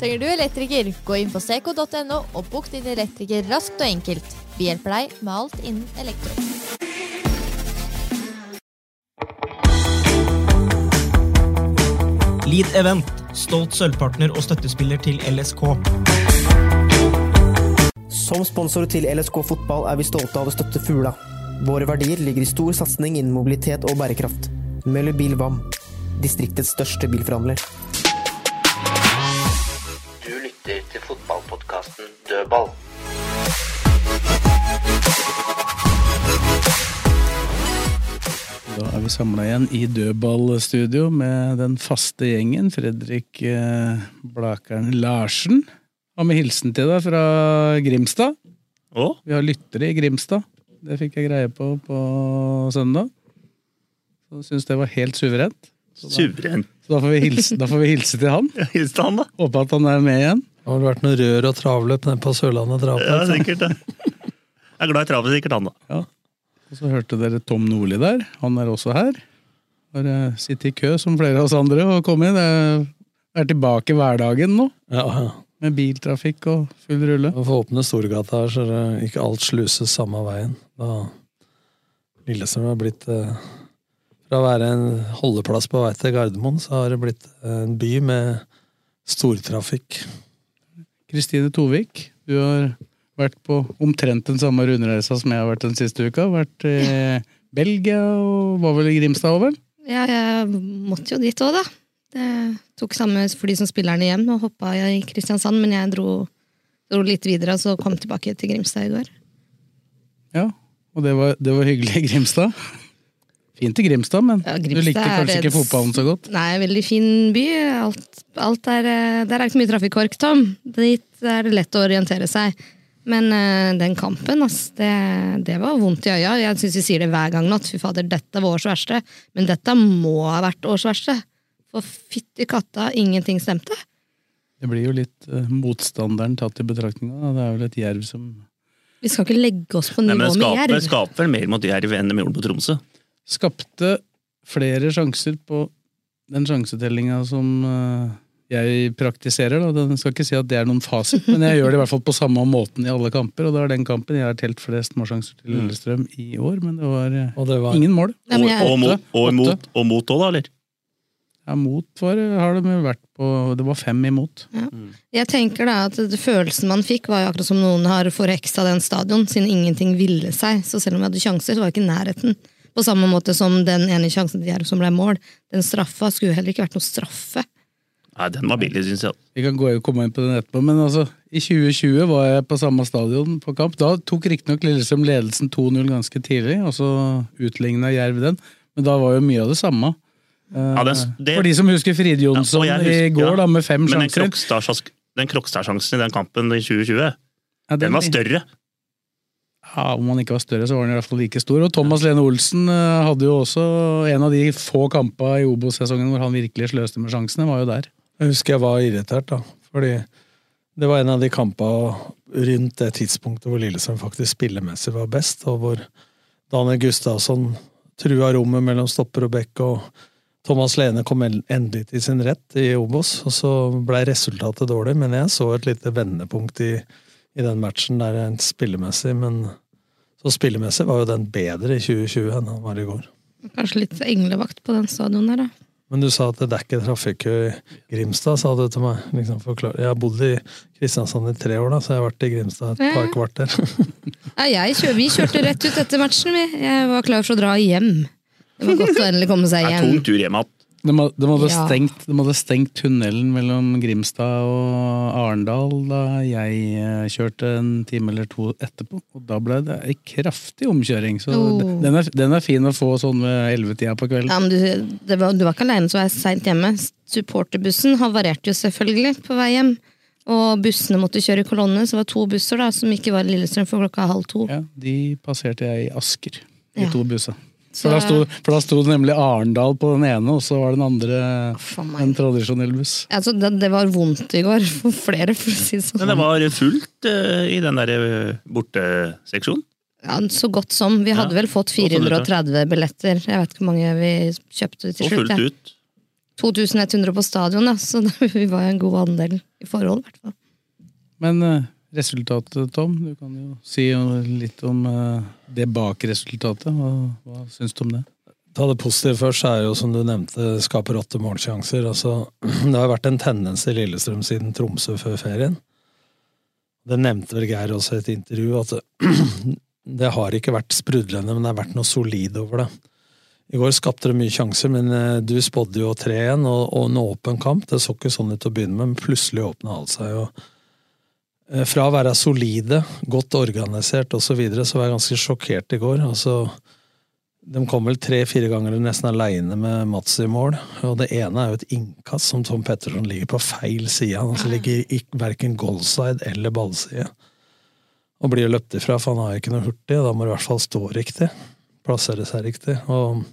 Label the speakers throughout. Speaker 1: Trenger du elektriker? Gå inn på seco.no og bok din elektriker raskt og enkelt. Vi hjelper deg med alt innen elektro.
Speaker 2: Lead Event, stolt sølvpartner og støttespiller til LSK.
Speaker 3: Som sponsor til LSK fotball er vi stolte av å støtte Fugla. Våre verdier ligger i stor satsing innen mobilitet og bærekraft. Møller Bil VAM, distriktets største bilforhandler.
Speaker 4: Du lytter til fotballpodkasten Dødball.
Speaker 5: Da er vi samla igjen i dødballstudio med den faste gjengen. Fredrik eh, Blakeren Larsen. Og med hilsen til deg fra Grimstad. Vi har lyttere i Grimstad. Det fikk jeg greie på på søndag. Så Syns det var helt suverent.
Speaker 6: Suveren.
Speaker 5: Så da får vi hilse, da får vi hilse til han.
Speaker 6: Hils til han, da.
Speaker 5: Håpe at han er med igjen.
Speaker 2: Har det vært noe rør og travløp nede på Sørlandet liksom.
Speaker 6: Ja, sikkert. det. Jeg er glad i travet, sikkert han, da.
Speaker 5: Og så hørte dere Tom Nordli der. Han er også her. Bare sitte i kø som flere av oss andre og komme inn. Det er tilbake i hverdagen nå.
Speaker 2: Ja, ja.
Speaker 5: Med biltrafikk og full rulle.
Speaker 2: Vi får åpne Storgata her, så det ikke alt sluses samme veien. Da Lillestrøm har blitt eh, Fra å være en holdeplass på vei til Gardermoen, så har det blitt eh, en by med stortrafikk.
Speaker 5: Kristine Tovik, du har vært på omtrent den samme rundreisa som jeg har vært den siste uka. Vært i Belgia og var vel i Grimstad over?
Speaker 1: Ja, jeg måtte jo dit òg, da. Det tok samme fly som spillerne hjem og hoppa i Kristiansand, men jeg dro, dro litt videre og så kom tilbake til Grimstad i går.
Speaker 5: Ja, og det var, det var hyggelig i Grimstad. Fint i Grimstad, men
Speaker 1: Ja,
Speaker 5: du
Speaker 1: Grimstad
Speaker 5: likte
Speaker 1: er
Speaker 5: kanskje
Speaker 1: et-
Speaker 5: ikke fotballen så godt.
Speaker 1: Nei, veldig fin by. Alt, alt er, eh, der er ikke mye trafikkork, Tom. Dit er det lett å orientere seg. Men eh, den kampen, ass, det, det var vondt i øya. Jeg syns vi sier det hver gang nå. at Fy fader, dette var års verste. Men dette må ha vært års verste. For fytti katta, ingenting stemte.
Speaker 5: Det blir jo litt eh, motstanderen tatt i betraktning. da. Det er vel et jerv som
Speaker 1: Vi skal ikke legge oss på
Speaker 6: Nei, men
Speaker 1: nivå med
Speaker 6: skaper,
Speaker 1: jerv.
Speaker 6: skaper vel mer mot Jerv enn de gjorde på Tromsø.
Speaker 5: skapte flere sjanser på den sjansetellinga som eh, jeg praktiserer. Da. Den skal ikke si at det er noen fasit, men jeg gjør det i hvert fall på samme måten i alle kamper. Og det var den kampen jeg har telt flest målsjanser til
Speaker 6: Mm.
Speaker 5: Lillestrøm i år, men det var eh,
Speaker 2: Og det var
Speaker 5: ingen mål.
Speaker 1: Ja, men jeg-
Speaker 6: og, og, mot, og,
Speaker 5: Åtte.
Speaker 6: imot, og mot òg, da, eller?
Speaker 5: Ja, mot var, har det vel vært på Det var fem imot.
Speaker 1: Jeg tenker da at det- Følelsen man fikk, var jo akkurat som noen har forheksa den stadion, siden ingenting ville seg. Så selv om vi hadde sjanser, så var det ikke i nærheten. På samme måte som den ene sjansen til Jerv som ble mål. Den straffa skulle heller ikke vært noe straffe.
Speaker 6: Nei, den var billig, syns jeg.
Speaker 5: Vi kan gå komme inn på den etterpå, men altså, i 2020 var jeg på samme stadion på kamp. Da tok riktignok Lillestrøm ledelsen 2-0 ganske tidlig, og så utligna Jerv den. Men da var jo mye av det samme. Eh,
Speaker 6: Ja, det- det-
Speaker 5: For de som husker Fride Jonsson
Speaker 6: Ja, og jeg husker-
Speaker 5: i går,
Speaker 6: ja.
Speaker 5: da, med fem
Speaker 6: Men den
Speaker 5: sjanser.
Speaker 6: Krokstad-sjans- den Krokstad-sjansen i den kampen i 2020,
Speaker 5: Ja,
Speaker 6: den var større.
Speaker 5: Ja, Om han ikke var større, så var han i hvert fall like stor. Og Thomas Lene Olsen eh, hadde jo også en av de få kampa i Obos-sesongen hvor han virkelig sløste med sjansene, var jo der.
Speaker 2: Jeg husker jeg var irritert, da. Fordi det var en av de kampene rundt det tidspunktet hvor Lillesand faktisk spillemessig var best, og hvor Daniel Gustavsson trua rommet mellom stopper og bekk, og Thomas Lene kom en- endelig til sin rett i Obos, og så blei resultatet dårlig, men jeg så et lite vendepunkt i, i den matchen der rent spillemessig, men så spillemessig var jo den bedre i 2020 enn den var i går.
Speaker 1: Kanskje litt englevakt på den stadion der, da.
Speaker 2: Men du sa at det er ikke trafikkø i Grimstad, sa du til meg. Liksom forklar- jeg har bodd i Kristiansand i tre år, da, så jeg har vært i Grimstad et par kvarter.
Speaker 1: Ja, jeg kjø vi kjørte rett ut etter matchen. Vi. Jeg var klar for å dra hjem. Det var godt å endelig komme seg
Speaker 6: Det er
Speaker 1: hjem.
Speaker 6: tung tur hjem igjen.
Speaker 2: De, må- de, hadde
Speaker 1: Ja.
Speaker 2: stengt, de hadde stengt tunnelen mellom Grimstad og Arendal da jeg eh, kjørte en time eller to etterpå. Og da ble det ei kraftig omkjøring. Så
Speaker 1: Oh.
Speaker 2: d- den, er, den er fin å få sånn ved ellevetida på kvelden.
Speaker 1: Ja, men du, det var, du var ikke aleine som var seint hjemme. Supporterbussen havarerte jo selvfølgelig på vei hjem. Og bussene måtte kjøre i kolonne, så det var to busser da, som ikke var i Lillestrøm før klokka halv to.
Speaker 2: De passerte jeg i Asker, de
Speaker 1: Ja.
Speaker 2: to bussa.
Speaker 1: Så-
Speaker 2: For da, sto, for da sto det nemlig Arendal på den ene, og så var den andre en tradisjonell buss.
Speaker 1: Altså, det, det var vondt i går for flere, for å si det sånn.
Speaker 6: Men det var fullt eh, i den der eh, borteseksjonen.
Speaker 1: Ja, så godt som. Vi hadde vel fått 430 billetter. Jeg vet ikke hvor mange vi kjøpte til
Speaker 6: Og
Speaker 1: slutt.
Speaker 6: fullt
Speaker 1: jeg.
Speaker 6: ut.
Speaker 1: 2100 på stadion, da, så da- vi var en god andel i forhold. i hvert fall.
Speaker 2: Men eh, resultatet, Tom, du kan jo si jo litt om eh, det bak resultatet. Hva, hva syns du om det?
Speaker 5: Ta det positive først, så er jo som du nevnte, skaper åtte målsjanser. Altså, det har vært en tendens i Lillestrøm siden Tromsø før ferien. Det nevnte vel Geir også i et intervju, at det, det har ikke vært sprudlende, men det har vært noe solid over det. I går skapte det mye sjanser, men eh, du spådde jo 3-1 og, og en åpen kamp. Det så ikke sånn ut til å begynne med, men plutselig åpna alt seg. og eh, Fra å være solide, godt organisert osv., så, videre, så var jeg ganske sjokkert i går. altså... De kom vel tre-fire ganger nesten aleine med Mats i mål. Og det ene er jo et innkast som Tom Petterson ligger på feil side. Han altså ligger ikke verken goalside eller ballside. Og blir jo løpt ifra, for han har ikke noe hurtig. og Da må du i hvert fall stå riktig. Plassere seg riktig. Og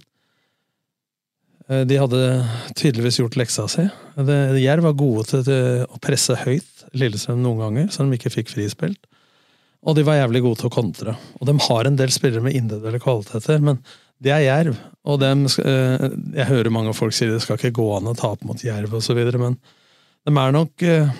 Speaker 5: eh, de hadde tydeligvis gjort leksa si. Det, Jerv var gode til det- å presse høyt Lillestrøm noen ganger, så de ikke fikk frispilt. Og de var jævlig gode til å kontre. Og de har en del spillere med individuelle kvaliteter, men det er Jerv. Og dem, sk- eh, jeg hører mange folk si det skal ikke gå an å tape mot Jerv osv., men de er nok eh,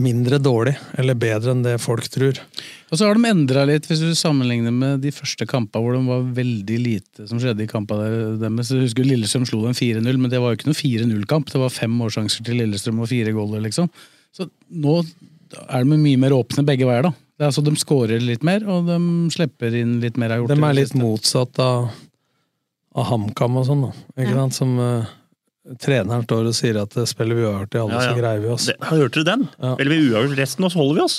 Speaker 5: mindre dårlig, eller bedre enn det folk tror.
Speaker 2: Og så har de endra litt, hvis du sammenligner med de første kampene hvor de var veldig lite som skjedde i kampene der- deres. Jeg husker Lillestrøm slo dem 4-0, men det var jo ikke noen 4-0-kamp. Det var fem målsjanser til Lillestrøm og fire goaler, liksom. Så nå er de mye mer åpne begge veier, da. Det er altså, De skårer litt mer, og de slipper inn litt mer. har gjort
Speaker 5: De
Speaker 2: i det
Speaker 5: er litt
Speaker 2: siste.
Speaker 5: motsatt av, av HamKam og sånn, da. Ikke
Speaker 2: Ja.
Speaker 5: sant? Som eh, treneren står og sier at eh, spiller vi uavgjort i alle,
Speaker 6: Ja, ja.
Speaker 5: så greier vi oss.
Speaker 6: Det, hørte du den? Eller vi uavgjort resten, og så holder vi oss.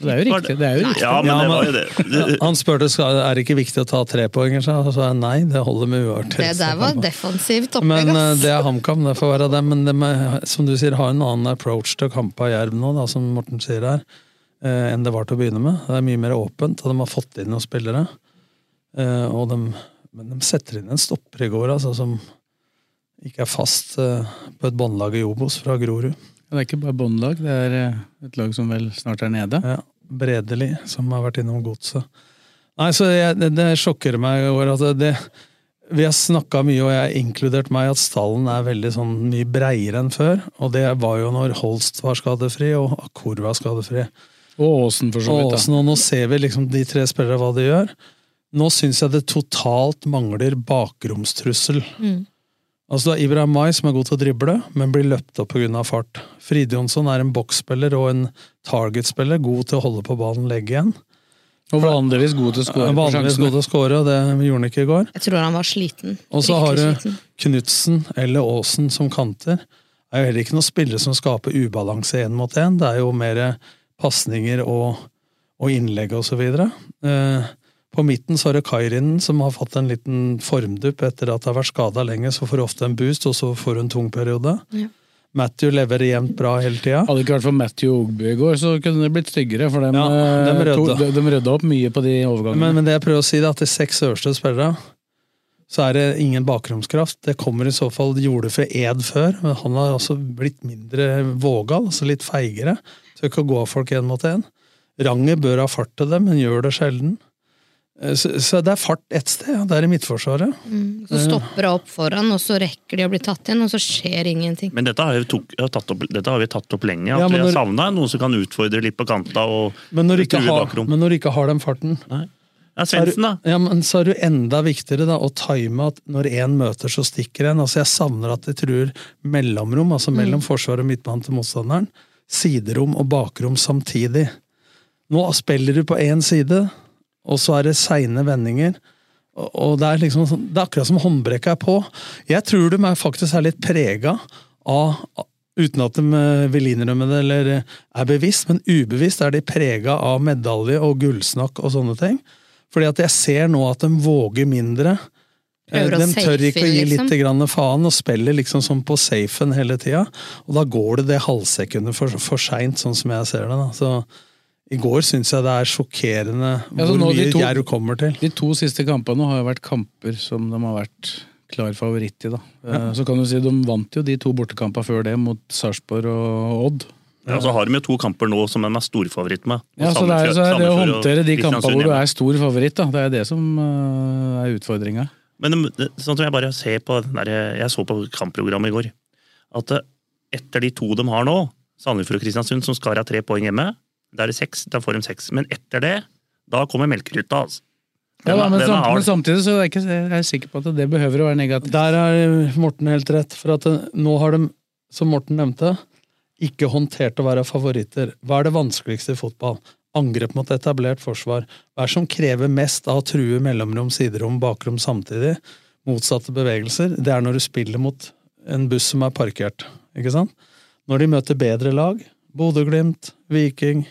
Speaker 2: Det er jo riktig, det er jo riktig.
Speaker 6: Ja, men det var jo det. det
Speaker 5: Han spurte skal- er det ikke viktig å ta trepoenger, sa jeg. Og så sa jeg nei, det holder med uavgjort.
Speaker 1: Det der var defensivt opplegg,
Speaker 5: Men eh,
Speaker 1: ass.
Speaker 5: det er HamKam, det får være det. Men de, er- som du sier, har en annen approach til å kampe av Jerv nå, da, som Morten sier her, eh, enn det var til å begynne med. Det er mye mer åpent, og de har fått inn noen spillere. Eh, Og de, men de setter inn en stopper i går, altså, som ikke er fast eh, på et båndlag i Obos fra Grorud.
Speaker 2: Ja, Det er ikke bare båndlag, det er eh, et lag som vel snart er nede.
Speaker 5: Ja, Bredeli, som har vært innom godset. Nei, så jeg, det, det sjokker meg over at det Vi har snakka mye, og jeg har inkludert meg, at stallen er veldig sånn mye breiere enn før. Og det var jo når Holst var skadefri, og Akkor var skadefri.
Speaker 2: Og Åsen, for så vidt.
Speaker 5: Og
Speaker 2: da.
Speaker 5: Åsen, og nå ser vi liksom de tre spillerne hva de gjør. Nå syns jeg det totalt mangler bakromstrussel.
Speaker 7: Mm.
Speaker 5: Altså du har Ibrahim Mai som er god til å drible, men blir løpt opp pga. fart. Fride Jonsson er en boksspiller og en targetspiller, god til å holde på ballen legge igjen.
Speaker 2: Og vanligvis god til å score på
Speaker 5: Vanligvis
Speaker 2: sjansene.
Speaker 5: god til å score, og det gjorde han ikke i går.
Speaker 1: Jeg tror han var sliten.
Speaker 5: Og så har
Speaker 1: Riktig
Speaker 5: du
Speaker 1: sliten.
Speaker 5: Knutsen eller Aasen som kanter. Det er jo heller ikke noen spillere som skaper ubalanse én mot én. Det er jo mer pasninger og, og innlegg og så videre. Eh, på midten så har du Kairinen, som har fått en liten formdupp etter at det har vært skada lenge. Så får du ofte en boost, og så får du en tung periode.
Speaker 1: Ja.
Speaker 5: Matthew leverer jevnt bra hele tida.
Speaker 2: Hadde det ikke vært for Matthew Ogbu i går, så kunne det blitt tryggere. For dem, eh,
Speaker 5: dem rydda.
Speaker 2: to- de, de rydda opp mye på de overgangene.
Speaker 5: Men, men det jeg prøver å si, det er at de seks øverste spillere så er det ingen bakromskraft. Det kommer i så fall gjorde for Ed før, men han har også blitt mindre vågal, altså litt feigere. Tør ikke å gå av folk én mot én. Ranger bør ha fart til det, men gjør det sjelden. Eh, Så, så det er fart ett sted, og det er i Midtforsvaret.
Speaker 1: Mm, Så stopper hun opp foran, og så rekker de å bli tatt igjen, og så skjer ingenting.
Speaker 6: Men dette har, vi tok, har tatt opp, dette har vi tatt opp lenge. At
Speaker 5: Ja,
Speaker 6: vi
Speaker 5: men
Speaker 6: har
Speaker 5: når-
Speaker 6: savna noen som kan utfordre litt på kanta og
Speaker 5: Men når, du ikke
Speaker 6: true
Speaker 5: har,
Speaker 6: bakrom.
Speaker 5: men når du ikke har den farten
Speaker 6: Ja, Svendsen, da.
Speaker 5: så er du- Ja, men så er det jo enda viktigere da, å time at når én møter, så stikker en. Altså, jeg savner at de truer mellomrom, altså mellom forsvar og midtbane til motstanderen. Siderom og bakrom samtidig. Nå spiller du på én side, og så er det seine vendinger. Og- Og det er liksom sånn, det er akkurat som håndbrekket er på. Jeg tror de er faktisk er litt prega av Uten at de eh, vil innrømme det eller eh, er bevisst, men ubevisst er de prega av medalje og gullsnakk og sånne ting. Fordi at jeg ser nå at de våger mindre. Eh,
Speaker 1: Prøver å
Speaker 5: De tør ikke å gi
Speaker 1: safe,
Speaker 5: litt
Speaker 1: liksom.
Speaker 5: grann faen og spiller liksom som på safen hele tida. Og da går det det halvsekundet for, for seint, sånn som jeg ser det. da. Så I går syns jeg det er sjokkerende
Speaker 2: Ja, så
Speaker 5: hvor
Speaker 2: nå de
Speaker 5: mye
Speaker 2: to-
Speaker 5: Jerv kommer til.
Speaker 2: De to siste kampene har jo vært kamper som de har vært klar favoritt i. da. Eh,
Speaker 6: Ja.
Speaker 2: Så kan du si De vant jo de to bortekampene før det, mot Sarpsborg og Odd.
Speaker 6: Ja, så har de jo to kamper nå som de er storfavoritt med.
Speaker 2: Ja, så Det er, så er det å
Speaker 6: Sandefjord og
Speaker 2: håndtere de
Speaker 6: Kristiansund
Speaker 2: kampene hvor du
Speaker 6: hjemme.
Speaker 2: er stor favoritt, da. det er det som eh, er utfordringa.
Speaker 6: Men det- det- sånn som jeg bare ser på den der, Jeg så på kampprogrammet i går. At eh, etter de to de har nå, Sandefjord og Kristiansund, som skar av tre poeng hjemme, da er det seks, da får de seks. Men etter det, da kommer melkeruta, altså.
Speaker 2: Ja, da,
Speaker 6: Den er-
Speaker 2: men,
Speaker 6: den er
Speaker 2: samt,
Speaker 6: hard.
Speaker 2: men samtidig så er jeg ikke jeg er sikker på at det behøver å være negativt.
Speaker 5: Der er Morten helt rett, for at eh, nå har de, som Morten nevnte, ikke håndtert å være favoritter. Hva er det vanskeligste i fotball? Angrep mot etablert forsvar. Hva er det som krever mest av å true mellomrom, siderom, bakrom samtidig? Motsatte bevegelser. Det er når du spiller mot en buss som er parkert, ikke sant? Når de møter bedre lag, Bodø-Glimt, Viking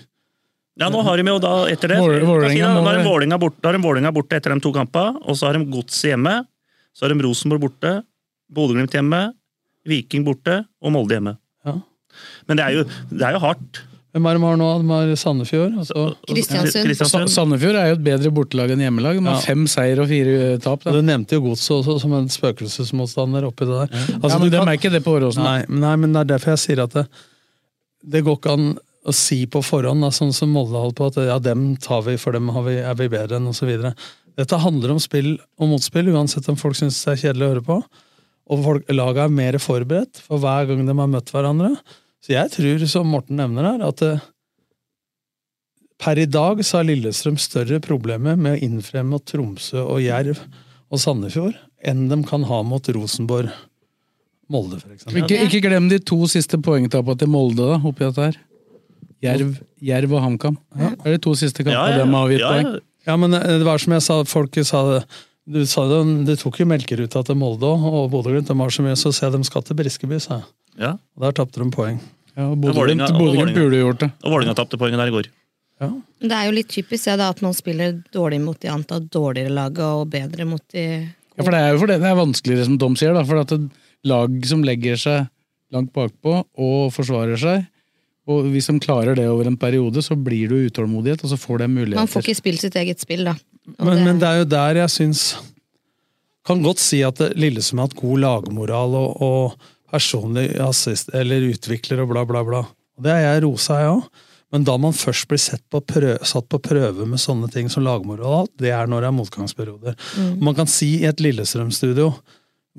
Speaker 6: Ja, nå har de jo da, etter det
Speaker 5: Vål- Vålerenga
Speaker 6: si, da, da
Speaker 5: må-
Speaker 6: har de Vålerenga borte, da har de Vålerenga borte etter de to kampene, og så har de Godset hjemme, så har de Rosenborg borte, Bodø-Glimt hjemme, Viking borte og Molde hjemme.
Speaker 5: Ja.
Speaker 6: Men det er jo, det er jo hardt.
Speaker 5: Hvem er det de har nå? De har Sandefjord. altså. og så-
Speaker 2: Sa- Sandefjord er jo et bedre bortelag enn hjemmelag. De har
Speaker 5: Ja.
Speaker 2: fem seier og fire eh, tap.
Speaker 5: Og
Speaker 2: Da.
Speaker 5: Du nevnte jo Godset også som en spøkelsesmotstander oppi det der. Altså,
Speaker 2: ja, men
Speaker 5: du
Speaker 2: De
Speaker 5: kan-
Speaker 2: er ikke det på Åråsen.
Speaker 5: Nei, nei, men det er derfor jeg sier at det, det går ikke an å si på forhånd, da, sånn som Molde holdt på, at ja, dem tar vi, for dem har vi, er vi bedre enn, osv. Dette handler om spill og motspill, uansett om folk syns det er kjedelig å høre på. Og folk, laget er mer forberedt for hver gang de har møtt hverandre. Så jeg tror, som Morten nevner her, at eh, per i dag så har Lillestrøm større problemer med å innfri mot Tromsø og Jerv og Sandefjord enn de kan ha mot Rosenborg, Molde, for eksempel.
Speaker 2: Ikke, ikke glem de to siste poengtapene til Molde da, oppi dette her. Jerv, Jerv og HamKam. Det er de to siste kampene
Speaker 5: Ja, ja, ja.
Speaker 2: de har avgitt
Speaker 5: Ja, ja.
Speaker 2: poeng.
Speaker 5: Ja, men eh, det var som jeg sa, folk sa det. Du sa det, det tok jo melkeruta til Molde også, og Bodø-Glimt. De har så mye, så ser de skatt til Briskeby, sa jeg.
Speaker 6: Ja.
Speaker 5: Og der tapte de poeng.
Speaker 2: Ja,
Speaker 6: Bodø-Glimt- Vålerenga- og Bodø-Glimt Vålerenga.
Speaker 2: burde gjort det.
Speaker 6: Og Vålerenga tapte poenget der i går.
Speaker 1: Det er jo litt typisk ja, da, at man spiller dårlig mot de antatt dårligere laget og bedre mot de
Speaker 2: Ja, for det er jo fordi det er vanskeligere, som Tom sier. da, For at et lag som legger seg langt bakpå og forsvarer seg og Hvis de klarer det over en periode, så blir det jo utålmodighet, og så får de muligheter.
Speaker 1: Man får ikke spilt sitt eget spill, da.
Speaker 5: Men det, men det er jo der jeg syns Kan godt si at det- Lillestrøm har hatt god lagmoral og, og personlig assist, eller utvikler og bla, bla, bla. Og Det er jeg rosa, jeg òg. Men da man først blir sett på prø- satt på prøve med sånne ting som lagmoral, og alt, det er når det er motgangsperioder.
Speaker 7: Mm.
Speaker 5: Man kan si i et Lillestrøm-studio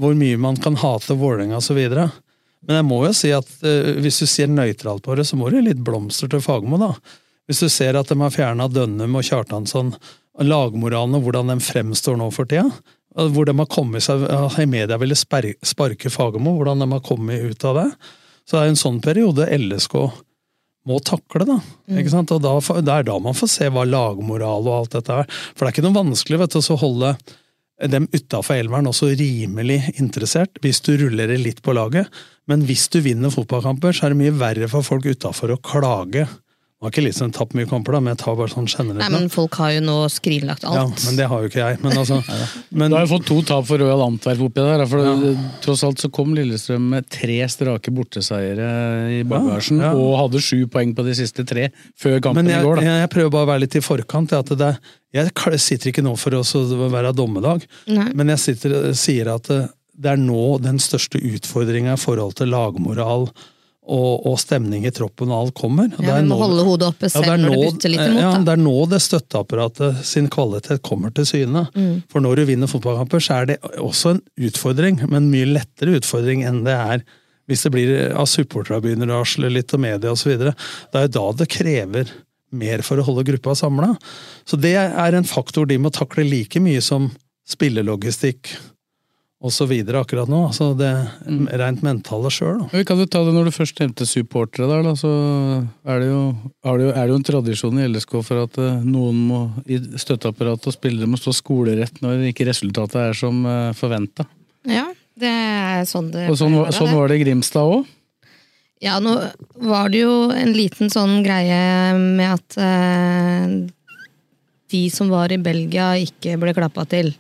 Speaker 5: hvor mye man kan hate Vålerenga osv. Men jeg må jo si at eh, hvis du ser nøytralt på det, så må det litt blomster til Fagermo, da. Hvis du ser at de har fjerna Dønnum og Kjartansson, lagmoralen og hvordan de fremstår nå for tida. og Hvor de har kommet seg at i media ville sper- sparke Fagermo, hvordan de har kommet ut av det. Så det er jo en sånn periode LSK må takle, da.
Speaker 1: Mm.
Speaker 5: Ikke sant? Og da, får- det er da man får se hva lagmoral og alt dette er. For det er ikke noe vanskelig vet du, å så holde dem utafor elveren også rimelig interessert, hvis du ruller det litt på laget. Men hvis du vinner fotballkamper, så er det mye verre for folk utafor å klage. Det var ikke liksom tapt mye kamper, da, men jeg tar bare sånn generelt.
Speaker 1: Nei,
Speaker 5: nå.
Speaker 1: men folk har jo nå skrinlagt alt.
Speaker 5: Ja, men det har jo ikke jeg. Men altså,
Speaker 2: du har jo fått to tap for Royal Antwerp oppi der. da, For det- tross alt så kom Lillestrøm med tre strake borteseiere i bagasjen.
Speaker 5: Ja, ja.
Speaker 2: Og hadde sju poeng på de siste tre før kampen
Speaker 5: men jeg,
Speaker 2: i går. da.
Speaker 5: jeg, jeg prøver bare å være litt i forkant. At det, er- jeg kl- sitter ikke nå for å så være dommedag,
Speaker 1: Nei.
Speaker 5: men jeg sitter, sier at det, det er nå den største utfordringa i forhold til lagmoral og, og stemning i troppen og alt kommer. Og det
Speaker 1: Ja,
Speaker 5: er
Speaker 1: vi må
Speaker 5: nå-
Speaker 1: holde hodet oppe selv
Speaker 5: det er
Speaker 1: når det
Speaker 5: nå-
Speaker 1: butter litt imot,
Speaker 5: Ja,
Speaker 1: da.
Speaker 5: det er nå det støtteapparatet sin kvalitet kommer til syne.
Speaker 1: Mm.
Speaker 5: For når du vinner fotballkamper, så er det også en utfordring, men mye lettere utfordring enn det er hvis det blir av supporterne begynner å varsle litt, og media osv. Det er jo da det krever mer for å holde gruppa samla. Så det er en faktor de må takle like mye som spillelogistikk og så videre akkurat nå. Altså det
Speaker 1: Mm.
Speaker 5: rent mentale sjøl, da.
Speaker 2: Vi kan jo ta det når du først nevnte supportere der, da, så er det, jo, er, det jo, er det jo en tradisjon i LSK for at eh, noen må, i støtteapparatet og spillere må stå skolerett når ikke resultatet er som forventa.
Speaker 1: Ja, det er sånn det
Speaker 2: Og sånn,
Speaker 1: pleier å
Speaker 2: var-
Speaker 1: være,
Speaker 2: sånn
Speaker 1: det.
Speaker 2: var det i Grimstad òg.
Speaker 1: Ja, nå var det jo en liten sånn greie med at eh, de som var i Belgia, ikke ble klappa til.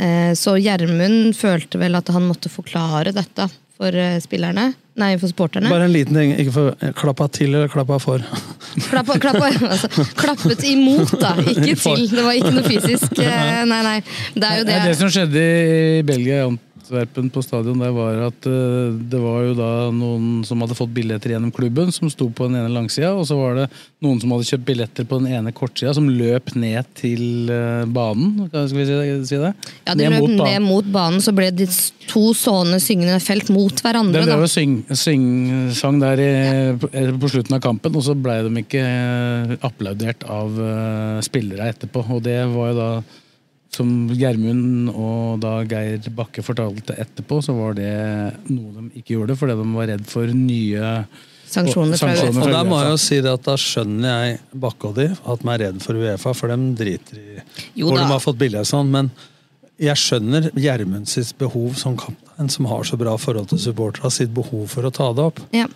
Speaker 1: Eh, så Gjermund følte vel at han måtte forklare dette for eh, spillerne. Nei, for supporterne.
Speaker 5: Bare en liten ting. Ikke for, klappa til eller klappa for.
Speaker 1: Klappa, klappa, altså, klappet imot, da. Ikke til. Det var ikke noe fysisk. eh, Nei, nei. Det er jo
Speaker 2: Det,
Speaker 1: det.
Speaker 2: det som skjedde i Belgia, i Antwerpen på stadion, der var at eh, det var jo da noen som hadde fått billetter gjennom klubben, som sto på den ene langsida, og så var det noen som hadde kjøpt billetter på den ene kortsida, som løp ned til eh, banen, hva skal vi si- si det?
Speaker 1: Ja, de løp ned mot banen, så ble de to sånne syngende felt mot
Speaker 2: De
Speaker 1: hverandre.
Speaker 2: drev
Speaker 1: da.
Speaker 2: og syng, syng, sang der i, på, eh, på slutten av kampen, og så blei de ikke eh, applaudert av eh, spillere etterpå. Og det var jo da, som Gjermund og da Geir Bakke fortalte etterpå, så var det noe de ikke gjorde fordi de var redd for nye
Speaker 1: Sanksjoner fra
Speaker 2: sanksjoner
Speaker 5: Og der må
Speaker 2: UEFA.
Speaker 5: jeg jo si det at da skjønner jeg Bakke og de at de er redd for Uefa, for de driter i
Speaker 1: Jo
Speaker 5: hvor
Speaker 1: da.
Speaker 5: de har fått billig og sånn. Men jeg skjønner Gjermund sitt behov som kaptein, som har så bra forhold til supporterne, sitt behov for å ta det opp.
Speaker 1: Ja.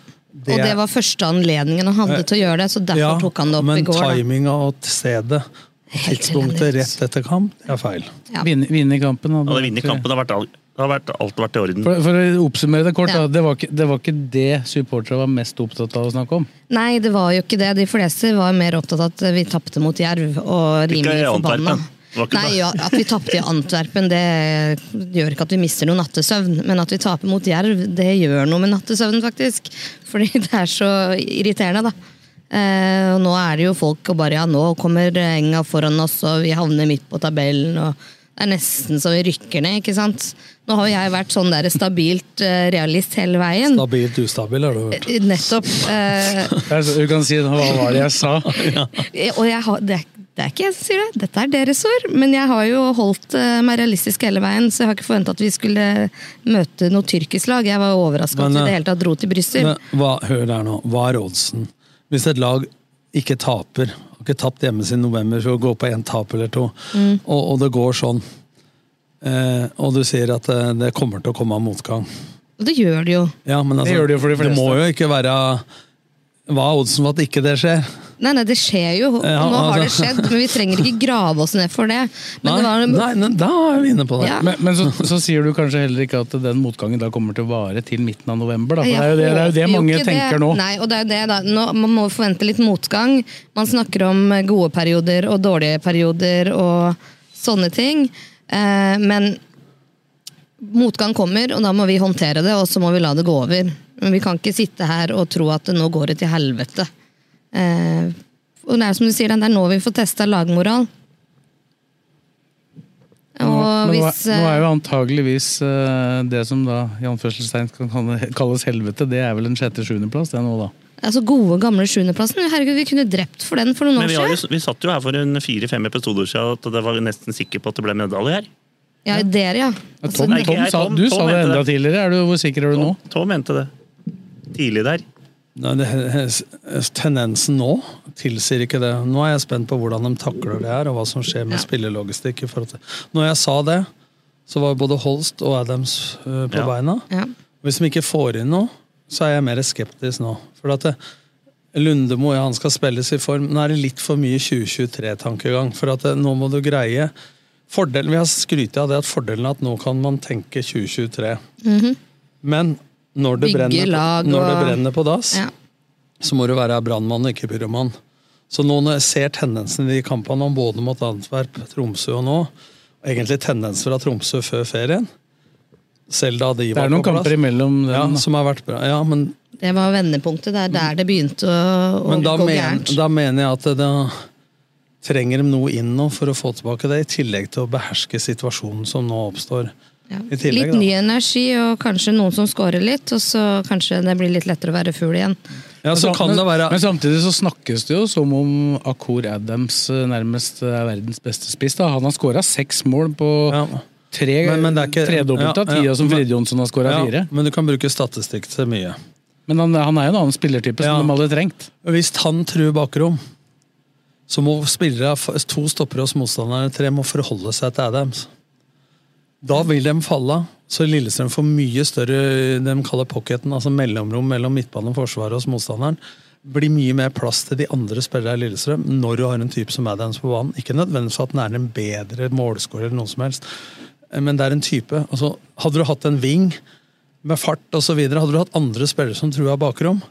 Speaker 1: Og det var første anledningen han hadde til å gjøre det, så derfor
Speaker 5: Ja,
Speaker 1: tok han det opp
Speaker 5: men
Speaker 1: i går. da.
Speaker 5: timinga og stedet og tidspunktet rett etter kamp, det er feil.
Speaker 2: Vinne, vinne kampen.
Speaker 6: Hadde vunnet kampen, det har, vært all, det har vært, alt vært i orden.
Speaker 2: For, for å oppsummere det kort, da, det, var ikke, det var ikke det supportere var mest opptatt av å snakke om.
Speaker 1: Nei, det var jo ikke det. De fleste var mer opptatt av at vi tapte mot Jerv og
Speaker 6: Ikke i
Speaker 1: rimelig forbanna.
Speaker 6: Antwerpen. Det var ikke
Speaker 1: Nei,
Speaker 6: det.
Speaker 1: ja, At vi tapte i Antwerpen, det gjør ikke at vi mister noe nattesøvn. Men at vi taper mot Jerv, det gjør noe med nattesøvnen, faktisk. Fordi det er så irriterende, da. Eh, og nå er det jo folk og bare ja, nå kommer enga foran oss, og vi havner midt på tabellen. og det er nesten så vi rykker ned, ikke sant. Nå har jo jeg vært sånn der stabilt eh, realist hele veien.
Speaker 5: Stabilt ustabil, har du hørt.
Speaker 1: Nettopp. Eh,
Speaker 2: Altså, Du kan si hva var det jeg sa?
Speaker 1: og jeg har, det, er, det er ikke jeg som sier det, dette er deres ord. Men jeg har jo holdt eh, meg realistisk hele veien, så jeg har ikke forventa at vi skulle møte noe tyrkisk lag. Jeg var overraska at vi
Speaker 5: Men,
Speaker 1: i
Speaker 5: eh,
Speaker 1: det hele tatt dro til Brussel.
Speaker 5: Men hva, hør her nå, hva er oddsen? Hvis et lag ikke taper, har ikke tapt hjemme siden november for å gå på én tap eller to,
Speaker 7: Mm.
Speaker 5: og, og det går sånn, eh, og du sier at eh, det kommer til å komme av motgang
Speaker 1: Og det gjør det jo.
Speaker 5: ja, men altså,
Speaker 2: Det gjør det jo for de fleste.
Speaker 5: må jo ikke være Hva er oddsen for at ikke det skjer?
Speaker 1: Nei, nei, det skjer jo.
Speaker 5: Ja,
Speaker 1: Nå har det
Speaker 5: altså.
Speaker 1: skjedd, men vi trenger ikke grave oss ned for det. Men
Speaker 2: Nei,
Speaker 1: det var,
Speaker 5: Nei, nei, da er vi inne på det.
Speaker 1: Ja.
Speaker 2: Men, men så, så sier du kanskje heller ikke at den motgangen da kommer til å vare til midten av november. Da. For det er jo det, det, er jo det
Speaker 1: Jeg håper
Speaker 2: mange
Speaker 1: jo ikke
Speaker 2: tenker
Speaker 1: det.
Speaker 2: nå.
Speaker 1: Nei, og det er jo det da. Nå, man må forvente litt motgang. Man snakker om eh, gode perioder og dårlige perioder og sånne ting. Eh, men motgang kommer, og da må vi håndtere det, og så må vi la det gå over. Men vi kan ikke sitte her og tro at det nå går det til helvete. Eh, og det er som du sier, det er nå vi får testa lagmoral.
Speaker 2: Nå,
Speaker 1: Og
Speaker 2: men nå,
Speaker 1: hvis,
Speaker 2: er, nå er jo antageligvis eh, det som da i anførselstegn kan kalle- kalles helvete, det er vel en sjette-sjuendeplass, det nå, da.
Speaker 1: Altså gode, gamle sjuendeplassen. Herregud, vi kunne drept for den for noen
Speaker 6: Men
Speaker 1: år
Speaker 6: vi,
Speaker 1: siden.
Speaker 6: har jo, vi satt jo her for en fire-fem episoder siden at det var nesten sikker på at det ble medalje her.
Speaker 1: Ja, dere, ja.
Speaker 2: Ja,
Speaker 1: Altså,
Speaker 2: Tom,
Speaker 6: Nei, ikke
Speaker 2: Tom,
Speaker 6: jeg,
Speaker 2: sa,
Speaker 6: Tom-
Speaker 2: du
Speaker 6: Tom
Speaker 2: sa det
Speaker 6: mente
Speaker 2: enda
Speaker 6: det.
Speaker 2: tidligere. Er du, hvor sikker er du nå?
Speaker 6: Tom mente det. Tidlig der.
Speaker 5: Nei, det, tendensen nå tilsier ikke det. Nå er jeg spent på hvordan de takler det her, og hva som skjer med spillelogistikk. i forhold til- Når jeg sa det, så var både Holst og Adams eh,
Speaker 7: Ja.
Speaker 5: på beina. Hvis de ikke får inn noe, så er jeg mer skeptisk nå. For at det, Lundemo ja, han skal spilles i form. Nå er det litt for mye 2023-tankegang. For at det, nå må du greie fordelen, Vi har skrytt av det at fordelen er at nå kan man tenke 2023.
Speaker 1: Mhm.
Speaker 5: Men når det,
Speaker 1: Bygge
Speaker 5: brenner,
Speaker 1: lag
Speaker 5: på, når det
Speaker 1: og-
Speaker 5: brenner på dass,
Speaker 1: Ja.
Speaker 5: så må du være brannmann og ikke pyroman. Så nå når jeg ser tendensen i de kampene om både mot Antwerp, Tromsø og nå, og egentlig tendenser fra Tromsø før ferien selv da de
Speaker 2: Det er noen kamper imellom dem,
Speaker 5: Ja,
Speaker 2: da.
Speaker 5: som har vært bra. Ja, men,
Speaker 1: Det var vendepunktet.
Speaker 2: Mm.
Speaker 1: Det er der det begynte å, å
Speaker 5: men da,
Speaker 1: gå
Speaker 5: men,
Speaker 1: gærent.
Speaker 5: da mener jeg at da trenger de noe inn nå for å få tilbake det, i tillegg til å beherske situasjonen som nå oppstår. I tillegg,
Speaker 1: Litt
Speaker 5: da.
Speaker 1: ny energi og kanskje noen som scorer litt, og så kanskje det blir litt lettere å være fugl igjen.
Speaker 5: Ja, så
Speaker 2: Men sam-
Speaker 5: kan det være
Speaker 2: Men samtidig så snakkes det jo som om eh, Akur Adams eh, nærmest er verdens beste spiss. da. Han har skåra seks mål på Tre,
Speaker 5: Men- men det er ikke-
Speaker 2: tredobbelt av
Speaker 5: ja, ja.
Speaker 2: tida som Frid Jonsson har skåra
Speaker 5: Ja,
Speaker 2: fire.
Speaker 5: men du kan bruke statistikk til mye.
Speaker 2: Men han, han er jo en annen spillertype som de hadde trengt.
Speaker 5: Hvis han truer bakrom, så må spillere, to stoppere hos motstanderne, tre må forholde seg til Adams. Da vil de falle av. Så Lillestrøm får mye større de kaller pocketen, altså mellomrom mellom midtbane og forsvaret hos motstanderen. Blir mye mer plass til de andre spillerne i Lillestrøm når du har en type som Adams på banen. Ikke nødvendigvis at den er en bedre målskårer eller noe som helst, men det er en type. Altså, hadde du hatt en wing med fart osv., hadde du hatt andre spillere som trua bakrom,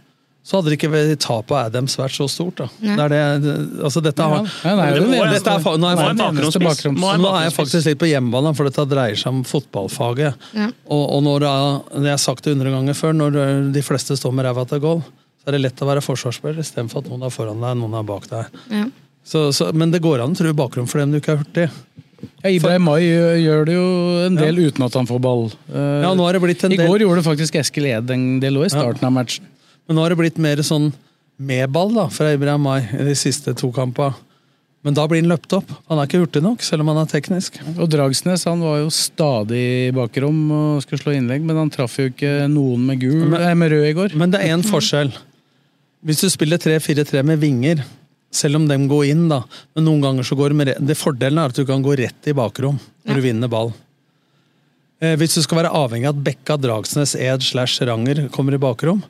Speaker 5: så hadde det ikke vært- tapet av Adams vært så stort. Da. Det er det, altså, dette har,
Speaker 2: Ja, nei, det er jo den eneste-
Speaker 5: dette er, fa- nå
Speaker 2: Må
Speaker 5: er
Speaker 2: ha
Speaker 5: jeg
Speaker 2: en
Speaker 5: faktisk-
Speaker 2: bakgrunnsspiss. Må ha en
Speaker 5: nå er jeg
Speaker 2: bakgrunnsspiss.
Speaker 5: faktisk litt på hjemmebane, for dette dreier seg om fotballfaget.
Speaker 2: Ja.
Speaker 5: Og, og når det er- det jeg har sagt det hundre ganger før, når de fleste står med ræva til goal, så er det lett å være forsvarsspiller istedenfor at noen er foran deg, noen er bak deg.
Speaker 1: Ja.
Speaker 5: Så, så, men det går an å true bakrom for dem du ikke er hurtig.
Speaker 2: Ja, Ibrahim Mai gjør gjør det jo en del uten at han får ball. Eh,
Speaker 5: Ja, nå har det blitt en
Speaker 2: I
Speaker 5: del-
Speaker 2: går gjorde faktisk Eskil Ed en del òg, i starten av matchen.
Speaker 5: Men nå har det blitt mer sånn med ball da, fra Ibrahim Mai i de siste to kampene. Men da blir han løpt opp. Han er ikke hurtig nok, selv om han er teknisk.
Speaker 2: Og Dragsnes han var jo stadig i bakrom og skulle slå innlegg, men han traff jo ikke noen med gul
Speaker 5: Men-
Speaker 2: eh, med rød i går.
Speaker 5: Men det er én forskjell. Hvis du spiller 3-4-3 med vinger, selv om dem går inn, da Men noen ganger så går de med re- det Fordelen er at du kan gå rett i bakrom når du vinner ball. Eh, hvis du skal være avhengig av at Bekka, Dragsnes, Ed slash Ranger kommer i bakrom,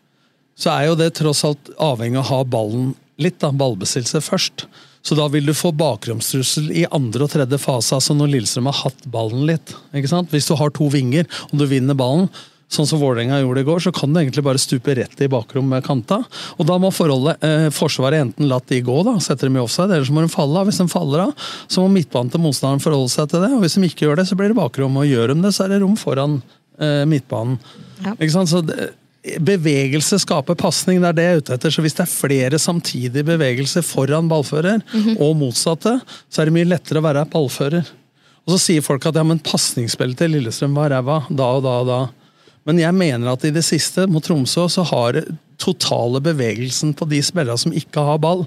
Speaker 5: så er jo det tross alt avhengig av å ha ballen litt, da, ballbesittelse først. Så da vil du få bakromstrussel i andre og tredje fase, altså når Lillestrøm har hatt ballen litt. ikke sant? Hvis du har to vinger og du vinner ballen, sånn som Vålerenga gjorde i går, så kan du egentlig bare stupe rett i bakrom med kanta. Og da må forholdet, eh, Forsvaret enten latt de gå, da, setter dem i offside, eller så må de falle av. Hvis de faller av, så må midtbanen til motstanderen forholde seg til det. Og hvis de ikke gjør det, så blir det bakrom. Og gjør de det, så er det rom foran eh, midtbanen. Ikke sant? Så det, Bevegelse skaper pasning, det er det jeg er ute etter. Så hvis det er flere samtidige bevegelser foran ballfører, og motsatte, så er det mye lettere å være ballfører. Og så sier folk at ja, men pasningsspillet til Lillestrøm var ræva da og da og da. Men jeg mener at i det siste, mot Tromsø, så har totale bevegelsen på de spillerne som ikke har ball,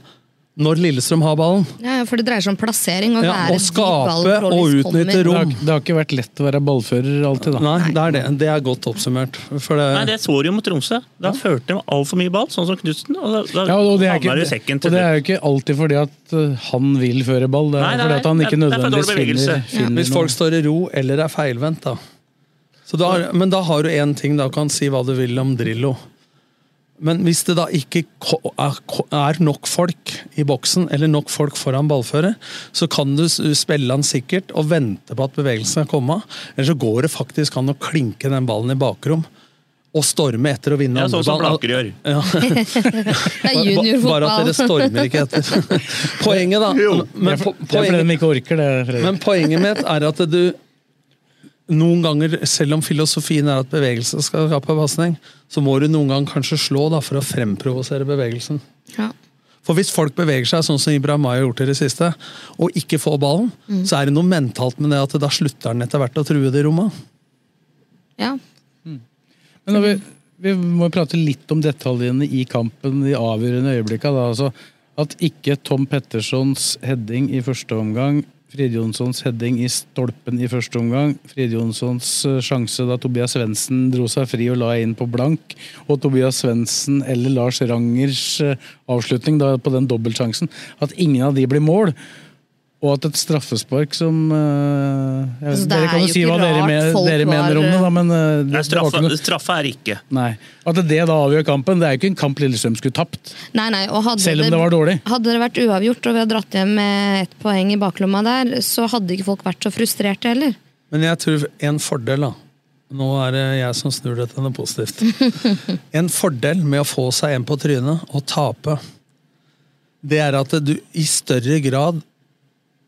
Speaker 5: når Lillestrøm har ballen,
Speaker 1: Ja, for det dreier seg om plassering. Og,
Speaker 5: Ja,
Speaker 1: være
Speaker 5: og
Speaker 1: dit
Speaker 5: skape
Speaker 1: ballen
Speaker 5: og
Speaker 1: troligvis
Speaker 5: utnytte
Speaker 1: kommer.
Speaker 5: rom.
Speaker 2: Det har, det har ikke vært lett å være ballfører alltid, da.
Speaker 5: Nei, det er det. Det er godt oppsummert. For det,
Speaker 6: Nei, det så du jo mot Tromsø. Da førte de altfor mye ball, sånn som Knutsen. Og da, da
Speaker 2: Ja, og det er, ikke,
Speaker 6: havna det i sekken
Speaker 2: og
Speaker 6: til
Speaker 2: det
Speaker 6: slutt.
Speaker 2: er jo ikke alltid fordi at uh, han vil føre ball, det er
Speaker 6: Nei, nei,
Speaker 2: fordi at han
Speaker 6: nei,
Speaker 2: ikke
Speaker 6: det er for
Speaker 2: nødvendigvis
Speaker 6: dårlig
Speaker 2: finner,
Speaker 6: bevegelse.
Speaker 2: finner
Speaker 5: Hvis folk
Speaker 2: noen.
Speaker 5: står i ro eller er feilvendt, da. Så da har, men da har du én ting, da kan si hva du vil om Drillo. Men hvis det da ikke ko- er ko- er nok folk i boksen, eller nok folk foran ballfører, så kan du s- spille han sikkert og vente på at bevegelsen skal komme. Eller så går det faktisk an å klinke den ballen i bakrom. Og storme etter å vinne
Speaker 6: Ja, sånn som
Speaker 5: ball.
Speaker 6: Blaker gjør.
Speaker 1: Det er
Speaker 5: Ba-
Speaker 1: juniorfotball.
Speaker 5: Bare at dere stormer ikke etter. Poenget, da
Speaker 2: Det er
Speaker 5: men,
Speaker 2: for-
Speaker 5: po
Speaker 2: det er fordi
Speaker 5: poenget,
Speaker 2: de ikke orker det, Fredrik.
Speaker 5: men poenget mitt er at du noen ganger, selv om filosofien er at bevegelse skal skape pasning, så må du noen gang kanskje slå da, for å fremprovosere bevegelsen.
Speaker 1: Ja.
Speaker 5: For hvis folk beveger seg sånn som Ibrahim har gjort i det siste, og ikke får ballen, så er det noe mentalt med det at da slutter han etter hvert å true det rommet.
Speaker 1: Ja.
Speaker 2: Men når vi, vi må prate litt om detaljene i kampen, de avgjørende øyeblikkene. Da, altså, at ikke Tom Pettersons heading i første omgang, Frid Jonssons heading i stolpen i første omgang, Frid Jonssons eh, sjanse da Tobias Svendsen dro seg fri og la inn på blank, og Tobias Svendsen eller Lars Rangers eh, avslutning da, på den dobbeltsjansen, at ingen av de blir mål. Og at et straffespark som eh, jeg,
Speaker 1: Altså, det
Speaker 2: Dere
Speaker 1: er
Speaker 2: kan
Speaker 1: jo
Speaker 2: jo si
Speaker 1: ikke
Speaker 2: hva dere,
Speaker 1: rart
Speaker 2: men-
Speaker 1: folk
Speaker 2: dere mener
Speaker 1: var,
Speaker 2: om det, da, men eh,
Speaker 6: Nei,
Speaker 2: det, det var
Speaker 6: straffe,
Speaker 2: ikke noe
Speaker 6: straffe er ikke.
Speaker 2: Nei. At det da avgjør kampen, det er jo ikke en kamp Lillestrøm skulle tapt.
Speaker 1: Nei, nei, og hadde
Speaker 2: Selv om det var dårlig.
Speaker 1: Hadde det vært uavgjort og vi hadde dratt hjem med ett poeng i baklomma der, så hadde ikke folk vært så frustrerte heller.
Speaker 5: Men jeg tror en fordel, da Nå er det jeg som snur det til noe positivt. En fordel med å få seg en på trynet og tape, det er at du i større grad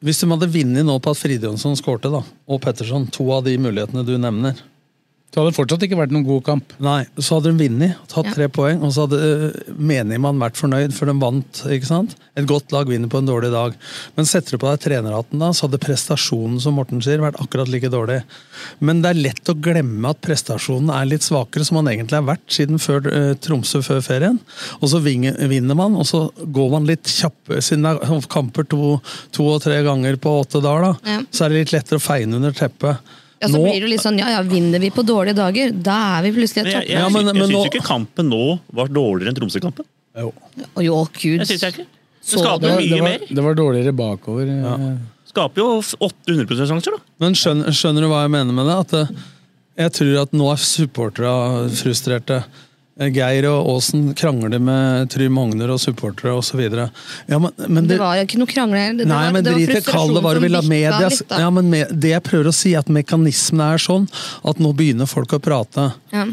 Speaker 5: Hvis de hadde vunnet nå på at Fridjonsson skårte, da, og Petterson, to av de mulighetene du nevner,
Speaker 2: Så hadde det fortsatt ikke vært noen god kamp.
Speaker 5: Nei, så hadde de vunnet, tatt tre poeng, og så hadde øh, menig man vært fornøyd, for de vant. ikke sant? Et godt lag vinner på en dårlig dag. Men setter du på deg trenerhatten, da, så hadde prestasjonen som Morten sier, vært akkurat like dårlig. Men det er lett å glemme at prestasjonen er litt svakere, som han egentlig har vært siden før, øh, Tromsø før ferien. Og så vinge- vinner man, og så går man litt kjappere, siden det er kamper to, to og tre ganger på åtte dager, da,
Speaker 1: Ja.
Speaker 5: så er det litt lettere å feine under teppet.
Speaker 1: Ja, så
Speaker 6: Nå-
Speaker 1: blir det jo litt sånn, ja ja, vinner vi på dårlige dager, da er vi plutselig et
Speaker 6: Jeg, jeg,
Speaker 1: topplag.
Speaker 6: jeg, syns jo ikke kampen nå var dårligere enn Tromsø-kampen.
Speaker 1: Å, Jo, gud.
Speaker 6: Jeg syns jeg ikke. Det
Speaker 1: Så
Speaker 6: skaper
Speaker 1: det-
Speaker 6: jo
Speaker 1: det
Speaker 6: mye
Speaker 1: var-
Speaker 6: mer.
Speaker 2: Det var dårligere bakover. eh,
Speaker 6: Skaper jo 800 sjanser, da.
Speaker 5: Men skjønner, skjønner du hva jeg mener med det? At eh, jeg tror at nå er supportere frustrerte. Eh, Geir og Aasen krangler med Trym Hogner og supportere osv. Ja, men, men
Speaker 1: det,
Speaker 5: det,
Speaker 1: var jo ikke noe krangle. Det, det
Speaker 5: Nei,
Speaker 1: var,
Speaker 5: men
Speaker 1: det var
Speaker 5: drit i kall det
Speaker 1: frustrasjonen
Speaker 5: hva du
Speaker 1: som
Speaker 5: vil. at
Speaker 1: bikka
Speaker 5: Media,
Speaker 1: litt, da.
Speaker 5: ja, men me, det jeg prøver å si, er at mekanismene er sånn at nå begynner folk å prate.
Speaker 1: Ja.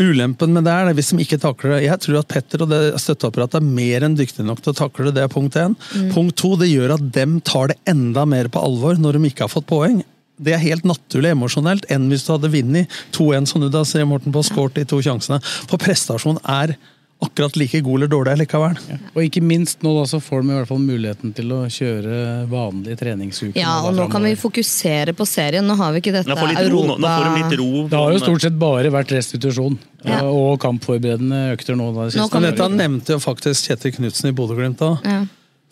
Speaker 5: Ulempen med det er det hvis de ikke takler det. Jeg tror at Petter og det støtteapparatet er mer enn dyktige nok til å takle det. Det er punkt én.
Speaker 7: Mm.
Speaker 5: Punkt to, det gjør at dem tar det enda mer på alvor når de ikke har fått poeng. Det er helt naturlig emosjonelt enn hvis du hadde vunnet 2-1, som du da ser Morten på, skåret de to sjansene. For prestasjon er akkurat like god eller dårlig likevel.
Speaker 2: Og ikke minst nå da, så får de i hvert fall muligheten til å kjøre vanlige treningsuker.
Speaker 1: Ja, og nå kan vi fokusere på serien. Nå har vi ikke dette Europa
Speaker 2: Det har jo stort sett bare vært restitusjon eh,
Speaker 1: Ja.
Speaker 2: og kampforberedende økter nå. Da, de siste
Speaker 5: Men dette
Speaker 2: dagene.
Speaker 5: nevnte jo faktisk Kjetil Knutsen i Bodø-Glimt òg.
Speaker 1: Ja.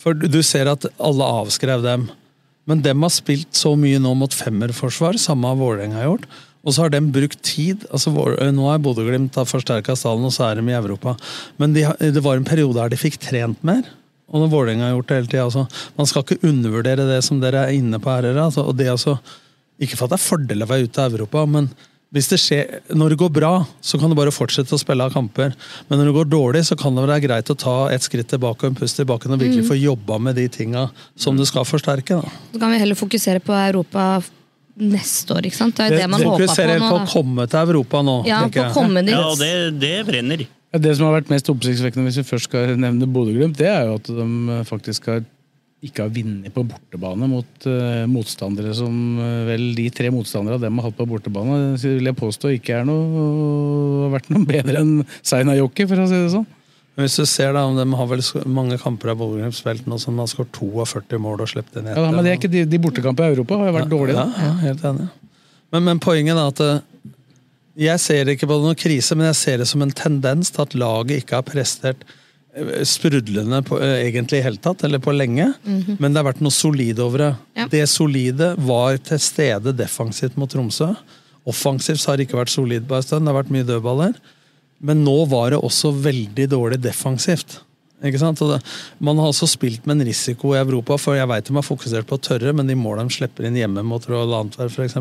Speaker 5: For du du ser at alle avskrev dem. Men dem har spilt så mye nå mot femmerforsvar, samme har Vålerenga gjort. Og så har dem brukt tid. altså Vår- eh, Nå er Bodø-Glimt har forsterka stallen, og så er de i Europa. Men de, har- det var en periode her de fikk trent mer. Og når Vålerenga har gjort det hele tida. Altså. Man skal ikke undervurdere det som dere er inne på her. dere, Altså, og det er altså, ikke for at det er fordel å være ute av Europa, men hvis det skjer, når det går bra, så kan du bare fortsette å spille av kamper. Men når det går dårlig, så kan det være greit å ta et skritt tilbake og en pust i bakken og virkelig
Speaker 1: Mm.
Speaker 5: få jobba med de tinga som du skal forsterke. da.
Speaker 1: Så kan vi heller fokusere på Europa neste år, ikke sant? Det er jo det, man håper på
Speaker 5: Fokuserer
Speaker 1: nå.
Speaker 5: på å
Speaker 1: da.
Speaker 5: komme til Europa nå.
Speaker 1: Ja,
Speaker 5: tenker
Speaker 1: på å
Speaker 5: jeg.
Speaker 1: komme dit.
Speaker 6: Ja, og det, det brenner.
Speaker 2: Ja, Det som har vært mest oppsiktsvekkende, hvis vi først skal nevne Bodø-Glimt, det er jo at de eh, faktisk har, ikke har vunnet på bortebane mot eh, motstandere som eh, vel de tre motstanderne de har hatt på bortebane, så vil jeg påstå ikke er noe, har vært noe bedre enn Seinajoki, for å si det sånn.
Speaker 5: Men Hvis du ser da, De har vel sk- mange kamper av Bodø-Glimt spilt nå som har skåret 42 mål og sluppet inn ett.
Speaker 2: Ja, da, men det er ikke de, de bortekampene i Europa har jo vært dårlige,
Speaker 5: Ja, ja,
Speaker 2: da.
Speaker 5: helt enig. Men, men poenget er at eh, jeg ser ikke på noen krise, men jeg ser det som en tendens til at laget ikke har prestert eh, sprudlende på, eh, egentlig i hele tatt, eller på lenge.
Speaker 7: Mhm.
Speaker 5: Men det har vært noe solid over det.
Speaker 7: Ja.
Speaker 5: Det solide var til stede defensivt mot Tromsø. Offensivt så har det ikke vært solid på en stund, det har vært mye dødballer. Men nå var det også veldig dårlig defensivt. Ikke sant? Og det, man har også spilt med en risiko i Europa, for jeg vet de har fokusert på å tørre, men de målene de slipper inn hjemme mot Royal Antwerp f.eks.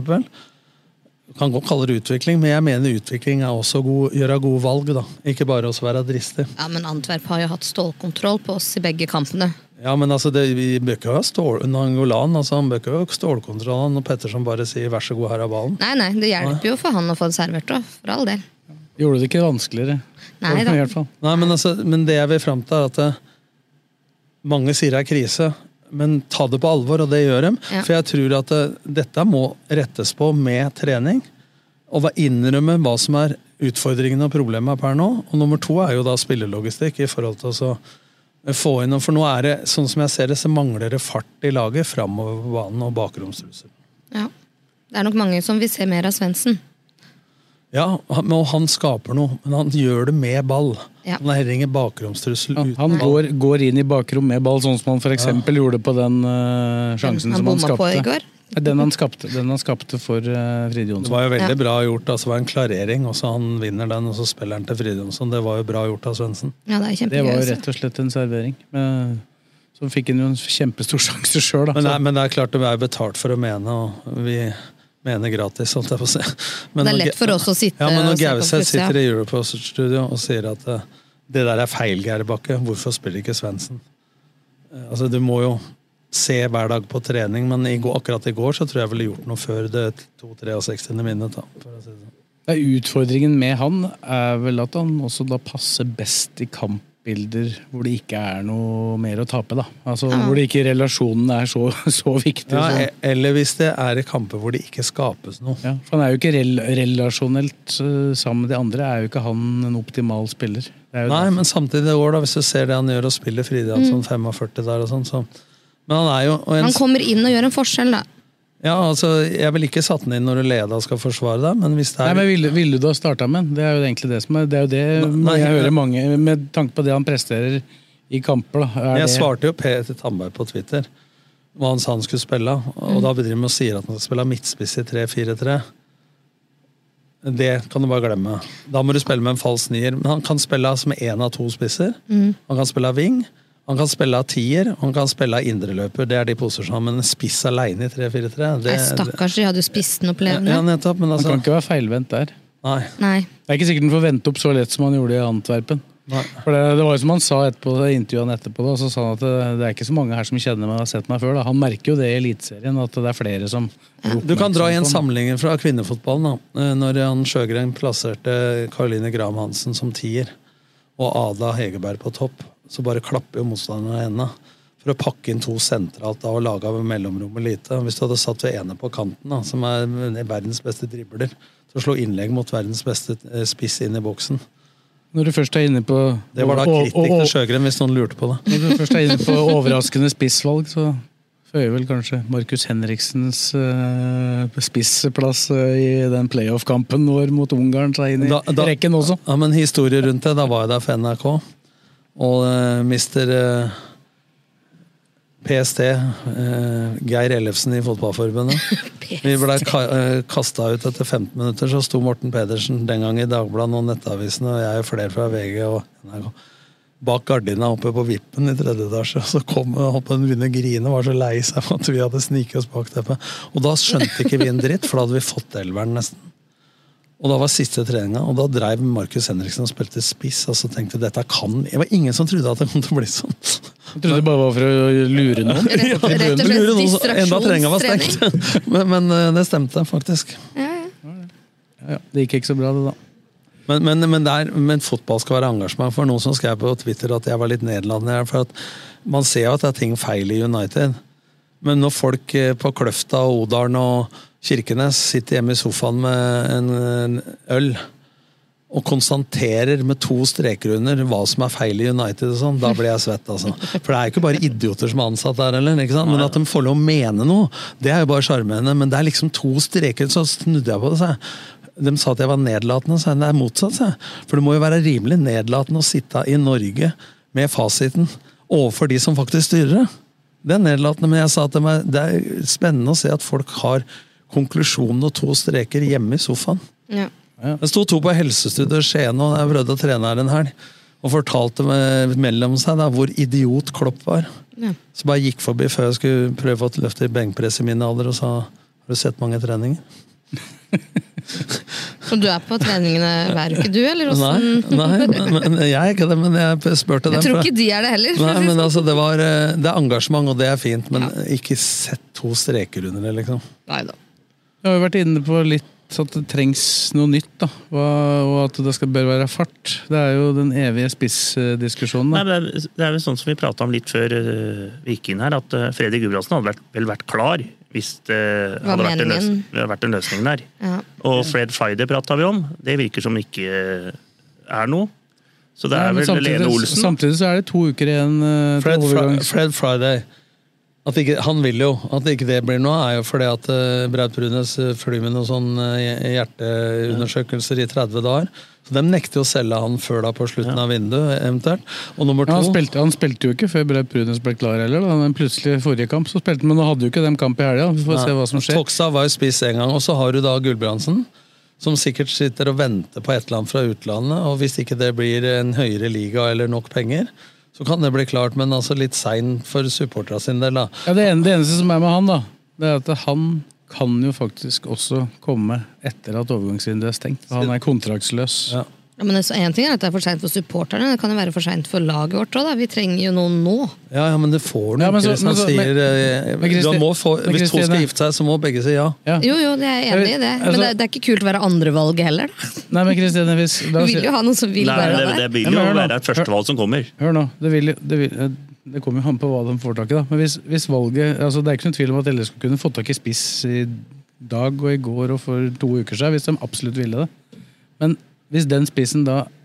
Speaker 5: Kan godt kalle det utvikling, men jeg mener utvikling er også å gjøre gode valg. da. Ikke bare også være dristig.
Speaker 1: Ja, men Antwerp har jo hatt stålkontroll på oss i begge kampene.
Speaker 5: Ja, men altså, det, vi bør ikke ha stål, Nangolan, altså, han bør ikke ha stålkontroll han, når Petterson bare sier 'vær så god, her er ballen'.
Speaker 1: Nei, nei, det hjelper jo for han å få det servert òg, for all del.
Speaker 2: Gjorde det ikke vanskeligere.
Speaker 1: Nei da.
Speaker 5: Nei, men, altså, men det jeg vil fram til, er at eh, mange sier det er krise, men ta det på alvor, og det gjør de.
Speaker 7: Ja.
Speaker 5: For jeg tror at eh, dette må rettes på med trening. Og hva- innrømme hva som er utfordringene og problemene per nå. Og nummer to er jo da spillelogistikk i forhold til å så få inn For nå er det, sånn som jeg ser det, så mangler det fart i laget framover på banen og bakromstrussel.
Speaker 1: Ja. Det er nok mange som vil se mer av Svendsen.
Speaker 5: Ja, han- men han skaper noe, men han gjør det med ball.
Speaker 1: Ja.
Speaker 5: Han er heller ingen bakromstrussel uten
Speaker 2: Han
Speaker 5: ball.
Speaker 2: går, går inn i bakrom med ball, sånn som han f.eks. eksempel gjorde på den eh, sjansen
Speaker 1: Den han
Speaker 2: som han
Speaker 1: bomma på
Speaker 2: skapte.
Speaker 1: i går.
Speaker 2: Nei, Den han skapte, den han skapte for uh, Fride Jonsson.
Speaker 5: Det var jo veldig bra gjort. Altså, det var en klarering, og så han vinner den, og så spiller han til Fride Jonsson. Det var jo bra gjort av Svendsen.
Speaker 1: Ja, det er
Speaker 2: Det
Speaker 1: kjempegøy.
Speaker 2: var jo
Speaker 1: altså.
Speaker 2: rett og slett en servering. Men, så fikk han jo en kjempestor sjanse sjøl, da.
Speaker 5: Men, det er- men det er klart de er betalt for å mene, og vi mener gratis, holdt jeg på å si. Men
Speaker 1: Det er
Speaker 5: når
Speaker 1: lett
Speaker 5: Ga-
Speaker 1: for oss å sitte
Speaker 5: Ja, men
Speaker 1: og
Speaker 5: når
Speaker 1: se på
Speaker 5: Gauseth
Speaker 1: pluss, ja.
Speaker 5: sitter i Europost-studio og sier at eh, det der er feil, Geir Bakke, hvorfor spiller ikke Svendsen? Eh, Altså, du må jo se hver dag på trening, men i går, akkurat i går så tror jeg jeg ville gjort noe før det 2-63. minuttet. da, for å si det sånn.
Speaker 2: Nei, Utfordringen med han er vel at han også da passer best i kampbilder hvor det ikke er noe mer å tape, da. Altså
Speaker 5: Ja.
Speaker 2: hvor det ikke relasjonene er så, så viktige.
Speaker 5: Ja,
Speaker 2: så-
Speaker 5: e- eller hvis det er i kamper hvor det ikke skapes noe.
Speaker 2: Ja, for han er jo ikke rel relasjonelt eh, sammen med de andre, er jo ikke han en optimal spiller. Det er jo
Speaker 5: Nei, men samtidig i år, da, hvis du ser det han gjør og spiller Fride Hansson 45 der og sånn, så Men han er jo og en,
Speaker 1: Han kommer inn og gjør en forskjell, da.
Speaker 5: Ja, altså, jeg ville ikke satt den inn når du leder og skal forsvare deg, men hvis det
Speaker 2: Nei,
Speaker 5: er
Speaker 2: men ville, ville du ha starta med den? Det er jo egentlig det som er Det er jo det
Speaker 5: Nei,
Speaker 2: jeg
Speaker 5: det-
Speaker 2: hører mange Med tanke på det han presterer i kamper, da. er
Speaker 5: Jeg
Speaker 2: det-
Speaker 5: svarte jo Peter Tandberg på Twitter. hva han sa han skulle spille. Og
Speaker 2: Mm.
Speaker 5: da begynner de å si at han skal spille midtspiss i 3-4-3. Det kan du bare glemme. Da må du spille med en falsk nier. Men han kan spille som én av to spisser.
Speaker 7: Mm.
Speaker 5: Han kan spille av wing, han kan spille av tier, og han kan spille av indreløper. Det er de posisjonene. Men en spiss aleine i 3-4-3
Speaker 1: Nei,
Speaker 5: det,
Speaker 1: stakkars, de hadde jo spissen opplevende.
Speaker 5: Ja, nettopp, men altså-
Speaker 2: Han kan ikke være feilvendt der.
Speaker 5: Nei.
Speaker 1: Nei.
Speaker 2: Det er ikke sikkert han får vente opp så lett som han gjorde i Antwerpen. For det, det var jo som han sa etterpå, det intervjuet han etterpå, da, så sa han at det, det er ikke så mange her som kjenner meg og har sett meg før. Da. Han merker jo det i Eliteserien, at det er flere som
Speaker 5: Du kan dra igjen sammenligningen fra kvinnefotballen. da. Eh, Når Jan Sjøgren plasserte Caroline Graham Hansen som tier og Ada Hegerberg på topp, så bare klapper jo motstanderne henne for å pakke inn to sentralt da, og lage av mellomrommet lite. Hvis du hadde satt ved ene på kanten, da, som er verdens beste dribler, så slo innlegg mot verdens beste eh, spiss inn i boksen.
Speaker 2: Når du først er inne på
Speaker 5: Det var da
Speaker 2: og- og-
Speaker 5: kritikk
Speaker 2: og-
Speaker 5: til Sjøgren, hvis noen lurte på det.
Speaker 2: Når du først er inne på overraskende spissvalg, så føyer vel kanskje Markus Henriksens eh, spissplass eh, i den playoff-kampen vår mot Ungarn seg inn i
Speaker 5: Da- da-
Speaker 2: rekken også.
Speaker 5: Ja, men historie rundt det. Da var jeg der for NRK. Og uh, mister eh, PST, eh, Geir Ellefsen i Fotballforbundet Vi ble ka eh, kasta ut etter 15 minutter, så sto Morten Pedersen den gang i Dagbladet og Nettavisene, og jeg og flere fra VG og NRK bak gardina oppe på vippen i tredje etasje. Og så kom opp og begynte å grine, var så lei seg for at vi hadde sniket oss bak teppet. Og da skjønte ikke vi en dritt, for da hadde vi fått elveren nesten. Og da var siste treninga, og da dreiv Markus Henriksen og spilte spiss. Og så tenkte jeg, dette kan Det var ingen som trodde at det kom til å bli sånn. Jeg
Speaker 2: trodde det bare var for å lure noen.
Speaker 5: Ja,
Speaker 2: Rett og slett
Speaker 5: lure noen, så enda treninga var
Speaker 2: distraksjonstrening.
Speaker 5: stengt. Men, men eh, det stemte, faktisk.
Speaker 2: Ja, ja. Det gikk ikke så bra, det da.
Speaker 5: Men, men, men, der, men fotball skal være engasjement. For noen som skrev på Twitter at jeg var litt nedlatende. her, For at man ser jo at det er ting feil i United. Men når folk eh, på Kløfta og Odalen og Kirkenes sitter hjemme i sofaen med en, en øl og konstaterer med to streker under hva som er feil i United, og sånn, da blir jeg svett. altså. For det er jo ikke bare idioter som er ansatt der, heller, ikke sant? men at de får lov å mene noe, det er jo bare sjarmerende. Men det er liksom to streker, så snudde jeg på det. sa jeg. De sa at jeg var nedlatende, sa jeg. Det er motsatt, sa jeg. For det må jo være rimelig nedlatende å sitte i Norge med fasiten overfor de som faktisk styrer det. Det er nedlatende, men jeg sa at det er, det er spennende å se at folk har konklusjonen og to streker hjemme i sofaen.
Speaker 1: Ja.
Speaker 5: Det sto to på helsestudiet i Skien, og jeg prøvde å trene her en helg. Og fortalte meg mellom seg da, hvor idiot Klopp var.
Speaker 1: Ja.
Speaker 5: Så bare gikk forbi før jeg skulle prøve å løfte i benkpress i min alder, og sa har du sett mange treninger?
Speaker 1: Så du er på treningene hver uke, du, eller
Speaker 5: Nei,
Speaker 1: åssen?
Speaker 5: nei men, men jeg er ikke det, men jeg spurte dem.
Speaker 1: Jeg tror
Speaker 5: for-
Speaker 1: ikke de er det heller. for å
Speaker 5: Nei,
Speaker 1: si det
Speaker 5: men
Speaker 1: sånn.
Speaker 5: altså, det, var, eh, det er engasjement, og det er fint, men ikke sett to streker under det, liksom.
Speaker 2: Vi har jo vært inne på litt sånn at det trengs noe nytt, da. Hva, og at det skal, bør være fart. Det er jo den evige spissdiskusjonen.
Speaker 6: Nei,
Speaker 2: da.
Speaker 6: men det er- det er vel sånn som vi prata om litt før eh, vi gikk inn her, at eh, Fredrik Gudbrandsen hadde vært, vel vært klar hvis det
Speaker 1: Hva
Speaker 6: hadde vært en, løs,
Speaker 1: meningen?
Speaker 6: vært en løsning der.
Speaker 1: Ja.
Speaker 6: Og Fred Fider prata vi om. Det virker som ikke eh, er noe. Så det
Speaker 2: Nei,
Speaker 6: er
Speaker 2: men
Speaker 6: vel Lene Olsen.
Speaker 2: Samtidig så er det to uker igjen eh, til
Speaker 5: Fred, Fri-
Speaker 2: overgangs-
Speaker 5: Fred Friday. At ikke, han vil jo at ikke det blir noe, er jo fordi at uh, Braut Brunes eh, flyr med noen sånne eh, hjerteundersøkelser i 30 dager. Så De nekter jo å selge han før da på slutten av vinduet, eventuelt. Og nummer
Speaker 2: Ja,
Speaker 5: to
Speaker 2: han, spilte, han spilte jo ikke før Braut Brunes ble klar heller. Da. Men plutselig forrige kamp så spilte han, men nå hadde jo ikke dem kamp i helga. Vi får
Speaker 5: Nei,
Speaker 2: se hva som skjer.
Speaker 5: Tokstad var jo spiss en gang, og så har du da Gulbrandsen. Som sikkert sitter og venter på et eller annet fra utlandet. Og hvis ikke det blir en høyere liga eller nok penger, så kan det bli klart, men altså litt sein for supporterne sin del, da.
Speaker 2: Ja, det, ene, det eneste som er med han, da, det er at han kan jo faktisk også komme etter at overgangsvinduet er stengt. Han er kontraktsløs.
Speaker 1: Ja, men det er så- en ting er at det er for seint for supporterne, det kan jo være for seint for laget vårt òg. Vi trenger jo noen nå.
Speaker 5: Ja, ja, men det får du
Speaker 2: Ja, men så-
Speaker 5: ikke hvis han
Speaker 2: men så- men-
Speaker 5: sier eh,
Speaker 2: men Kristi-
Speaker 5: du må få,
Speaker 2: men
Speaker 5: Hvis to skal
Speaker 2: Kristine-
Speaker 5: gifte seg, så må begge si ja.
Speaker 1: Jo, jo, det er jeg enig i det. Men
Speaker 2: Altså-
Speaker 1: det, er- det er ikke kult å være andrevalget heller, da.
Speaker 2: Nei, men Kristine, hvis la oss
Speaker 1: Vi vil jo ha noen som vil
Speaker 6: Nei,
Speaker 1: være
Speaker 6: det,
Speaker 1: der.
Speaker 6: det vil
Speaker 2: Ja,
Speaker 6: jo
Speaker 2: men hør nå.
Speaker 6: være et førstevalg som kommer.
Speaker 2: Hør nå, det, vil, jo- det, vil, det kommer jo an på hva de får tak i. da. Men hvis, hvis valget, altså Det er ikke noen tvil om at LSK kunne fått tak i spiss i dag og i går og for to uker siden, hvis de absolutt ville det. Men hvis den spissen da eh,